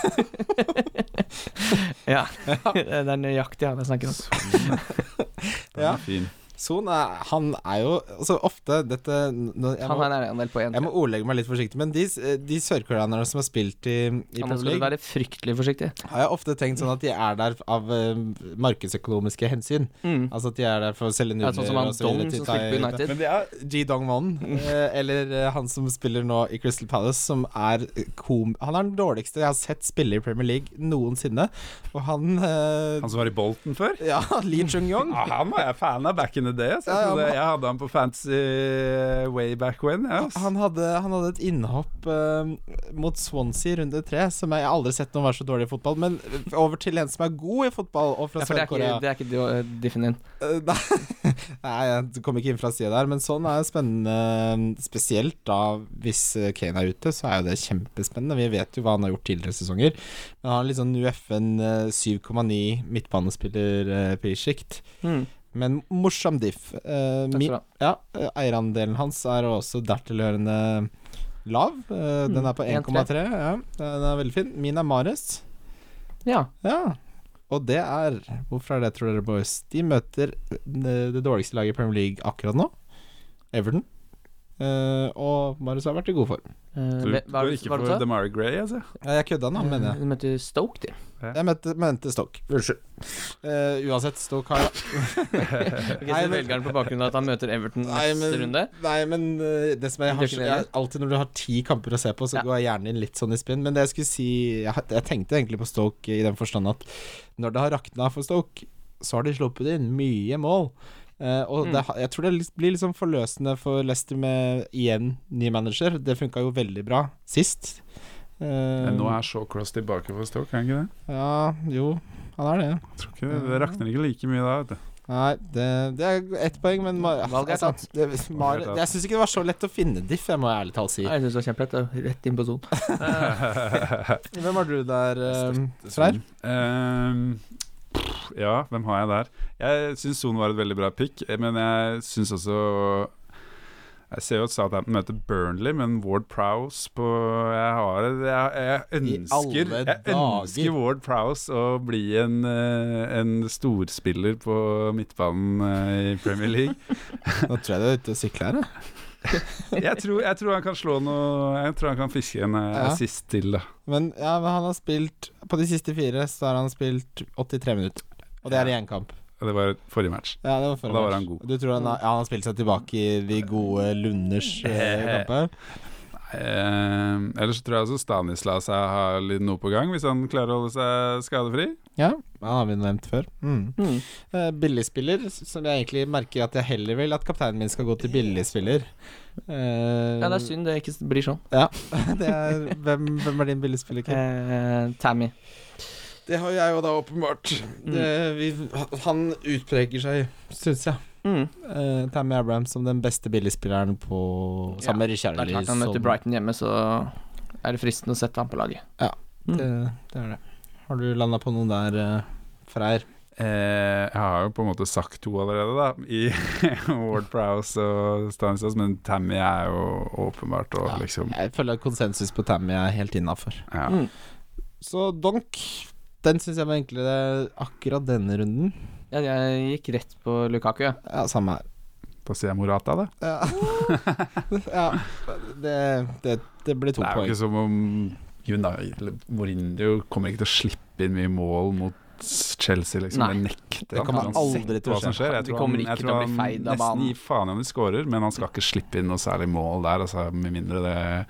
S3: ja. Det er nøyaktig han jeg snakker om.
S4: Den er
S2: Ja.
S4: fin.
S2: Son er, han er jo altså ofte dette nå- jeg
S3: Han
S2: må,
S3: har en eierandel på 1
S2: jeg må ordlegge meg litt forsiktig, men de, eh, de sørkoreanerne som har spilt i, i
S3: Nå
S2: Premier
S3: skal du
S2: League,
S3: være fryktelig forsiktig.
S2: har jeg ofte tenkt sånn at de er der av eh, markedsøkonomiske hensyn.
S3: Mm.
S2: Altså at de er der for å selge
S3: Ja,
S2: nudler
S3: sånn som han
S2: og så videre
S3: Dong
S2: til
S3: som spilte på
S2: Thai-
S3: United.
S2: Men det er Ji Dong-won, eh, eller eh, han som spiller nå i Crystal Palace, som er kom... Han er den dårligste jeg har sett spille i Premier League noensinne, og han eh,
S4: Han som var i Bolten før?
S2: Ja, Lee Chung-yong.
S4: Ja, han var jeg fan av back in the day. Så jeg,
S2: Ja, ja,
S4: trodde-
S2: men-
S4: jeg hadde han på fancy way back when. Ja, altså. ass.
S2: Han hadde, han hadde et innhopp eh, mot Swansea i runde tre, som jeg aldri har sett noen være så dårlig i fotball. Men eh, over til en som er god i fotball, og fra
S3: Ja, for det er ikke,
S2: Sør-Korea.
S3: det er ikke de- øh, diffen din.
S2: Eh, Nei, Nei, jeg kom ikke inn fra sida der, men sånn er jo spennende. Spesielt da hvis eh, Kane er ute, så er jo det kjempespennende. Vi vet jo hva han har gjort tidligere sesonger. Men han har litt sånn UFN eh, 7,9 midtbanespiller-prissjikt.
S3: Mm.
S2: eh, Men morsom diff. Eh,
S3: Takk
S2: min,
S3: skal du
S2: ja,
S3: ha.
S2: eh, eierandelen hans er også dertilhørende lav. Eh, Den er på
S3: Mm,
S2: 1,3. Ja, Eh, den er veldig fin. Min er Mares.
S3: Ja.
S2: Ja. Og det er Hvorfor er det, tror dere, boys? De møter eh, det, det dårligste laget i Premier League akkurat nå, Everton. Eh, og Marius har vært i god form.
S3: Eh,
S4: Du
S3: hva- hva
S4: går ikke
S3: hva
S4: for
S3: sa?
S4: Demari Gray, altså?
S2: Ja, jeg kødda nå, mener jeg.
S3: Du møtte Stoke, de.
S2: Jeg mente, mente Stoke. Unnskyld. Eh, uansett, Stoke har
S3: Ok,
S2: Nei,
S3: så du
S2: men-
S3: velger han på bakgrunn av at han møter Everton
S2: Nei,
S3: neste
S2: men,
S3: runde?
S2: nei, men eh, det som jeg har
S3: Definerer.
S2: jeg, Alltid når du har ti kamper å se på, så
S3: Ja.
S2: går jeg gjerne inn litt sånn i spinn. Men det jeg skulle si Jeg, had- jeg tenkte egentlig på Stoke i den forstand at når det har rakna for Stoke, så har de sluppet inn mye mål. Eh, og
S3: Mm.
S2: det, ha- jeg tror det litt- blir litt sånn forløsende for Leicester med igjen ny manager. Det funka jo veldig bra sist. Eh,
S4: Men nå er Shawcross tilbake for Stoke, er han ikke det?
S2: Ja, jo, han er det.
S4: Jeg tror ikke det, det rakner ikke like mye da, vet du.
S2: Nei, det, det er ett poeng, men Mar
S3: Valget er tatt.
S2: det, Mar
S4: Valget er tatt.
S2: Jeg syns ikke det var så lett å finne diff, jeg må ærlig talt si.
S3: Nei, Jeg syns det var kjempelett. det var Rett inn på sonen.
S2: Hvem var du der, eh, Svein?
S4: Ehm, pff, ja, hvem har jeg der? Jeg syns Son var et veldig bra pick, eh, men jeg syns også jeg ser jo at Southampton møter Burnley, men Ward Prowse på Jeg har det Jeg, jeg
S2: I
S4: ønsker
S2: alle
S4: Jeg ønsker
S2: dager.
S4: Ward Prowse å bli en, eh, en storspiller på midtbanen eh, i Premier League.
S2: Nå tror jeg du er ute og sykler her. jeg.
S4: Jeg tror, jeg tror han kan slå noe Jeg tror han kan fiske en eh,
S2: Ja.
S4: assist til, da.
S2: Men, ja, men han har spilt På de siste fire så har han spilt 83 minutter. Og det er i én kamp.
S4: Det var forrige match.
S2: Ja, det var forrige
S4: Og da var
S2: match.
S4: han god.
S2: Du tror han har, ja, han har spilt seg tilbake i de gode lunders eh, kamper?
S4: Eh, ellers så tror jeg også Stanislas er- har litt noe på gang, hvis han klarer å holde seg skadefri.
S2: Ja, han har vi nevnt før. Mm.
S3: Mm.
S2: Eh, billigspiller, som jeg egentlig merker at jeg heller vil at kapteinen min skal gå til billigspiller. Eh,
S3: Ja, det er synd det ikke blir sånn.
S2: det er- hvem, hvem er din billigspiller, Kim?
S3: Eh, Tammy.
S2: Det har jeg jo da åpenbart. Mm. han utpreger seg, syns jeg.
S3: Mm.
S2: Eh, Tammy Abraham som den beste billigspilleren på
S3: Ja,
S2: Samme med
S3: Det er
S2: Richarlison.
S3: klart han
S4: liksom-
S3: møter Brighton hjemme, så er det fristende å sette han på laget. Mm.
S2: Det, Eh, det er det. Har du landa på noen der, uh, Freyr?
S4: Eh, jeg har jo på en måte sagt to allerede, da, i Ward Prowse og Stanislas, men Tammy er jo åpenbart og
S2: Ja.
S4: liksom
S2: Jeg føler at konsensus på Tammy er helt innafor.
S4: ja.
S3: Mm.
S2: Så Donk, den syns jeg var enklere akkurat denne runden.
S3: Ja, jeg gikk rett på Lukaku. ja.
S2: Ja, samme her.
S4: Da sier jeg Morata, da.
S2: Ja, ja. Det, det, det blir to
S4: Det er jo
S2: poeng.
S4: ikke som om United eller Mourinho kommer ikke til å slippe inn mye mål mot Chelsea, liksom.
S3: Nei.
S4: Det nekter
S2: Det kommer
S4: han.
S2: aldri til å
S4: hva som
S2: skje.
S4: skjer. Jeg
S3: De
S4: tror
S3: kommer
S4: han,
S3: ikke
S4: jeg
S3: til å
S4: tror
S3: bli
S4: han
S3: feid av
S4: nesten
S3: banen.
S4: gir faen i om de skårer, men han skal ikke slippe inn noe særlig mål der, altså, med mindre det,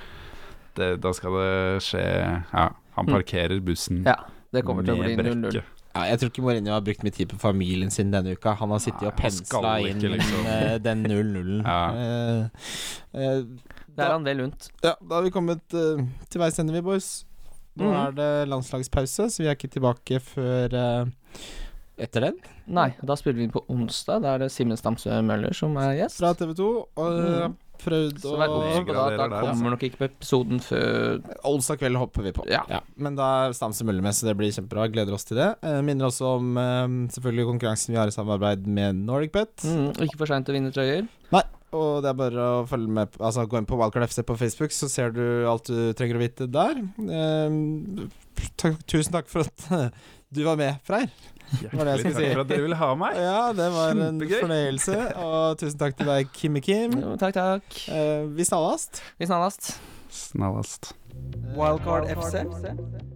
S4: det Da skal det skje Ja, han
S3: Mm.
S4: parkerer bussen
S3: Ja, det kommer til å bli
S4: med
S3: 0-0.
S4: brekket.
S2: Ja, jeg tror ikke Mourinho har brukt mye tid på familien sin denne uka. Han har sittet
S4: Nei,
S2: og
S4: han skal
S2: pensla inn
S4: ikke, liksom.
S2: eh, den 0-0-en. Eh, eh,
S3: Det er han vel unt.
S2: ja, da har vi kommet eh, til veis ende, vi, boys. Nå
S3: Mhm.
S2: er det landslagspause, så vi er ikke tilbake før eh, etter den.
S3: Nei, da spiller vi på onsdag. Da er det Simen Stamsø Møller som er gjest.
S2: Fra TV 2. Og
S3: Mhm.
S2: prøvd
S3: Så
S2: å
S3: vær obs på det at da
S4: Oppgraderer der, altså.
S3: kommer nok ikke episoden før
S2: Olsa kveld hopper vi på.
S3: Ja.
S2: Men da er Stamse Møller med, så det blir kjempebra. Gleder oss til det. Eh, minner også om eh, selvfølgelig konkurransen vi har i samarbeid med NordicBet.
S3: mm, Ikke for seint å vinne trøyer.
S2: Og det er bare å følge med Altså gå inn på Wildcard FC på Facebook, så ser du alt du trenger å vite der. Ehm, takk, tusen takk Eh, for at Du var med, Freyr. var det jeg
S4: Hjertelig
S2: skulle si.
S4: takk for at dere ville ha meg.
S2: Ja, det var en
S4: Kjempegøy.
S2: fornøyelse. Og tusen takk til deg, Kimme Kim.
S3: Jo, takk, takk.
S2: Eh, vi snallast.
S3: Vi snallast.
S4: Snallast.
S1: Wildcard FC.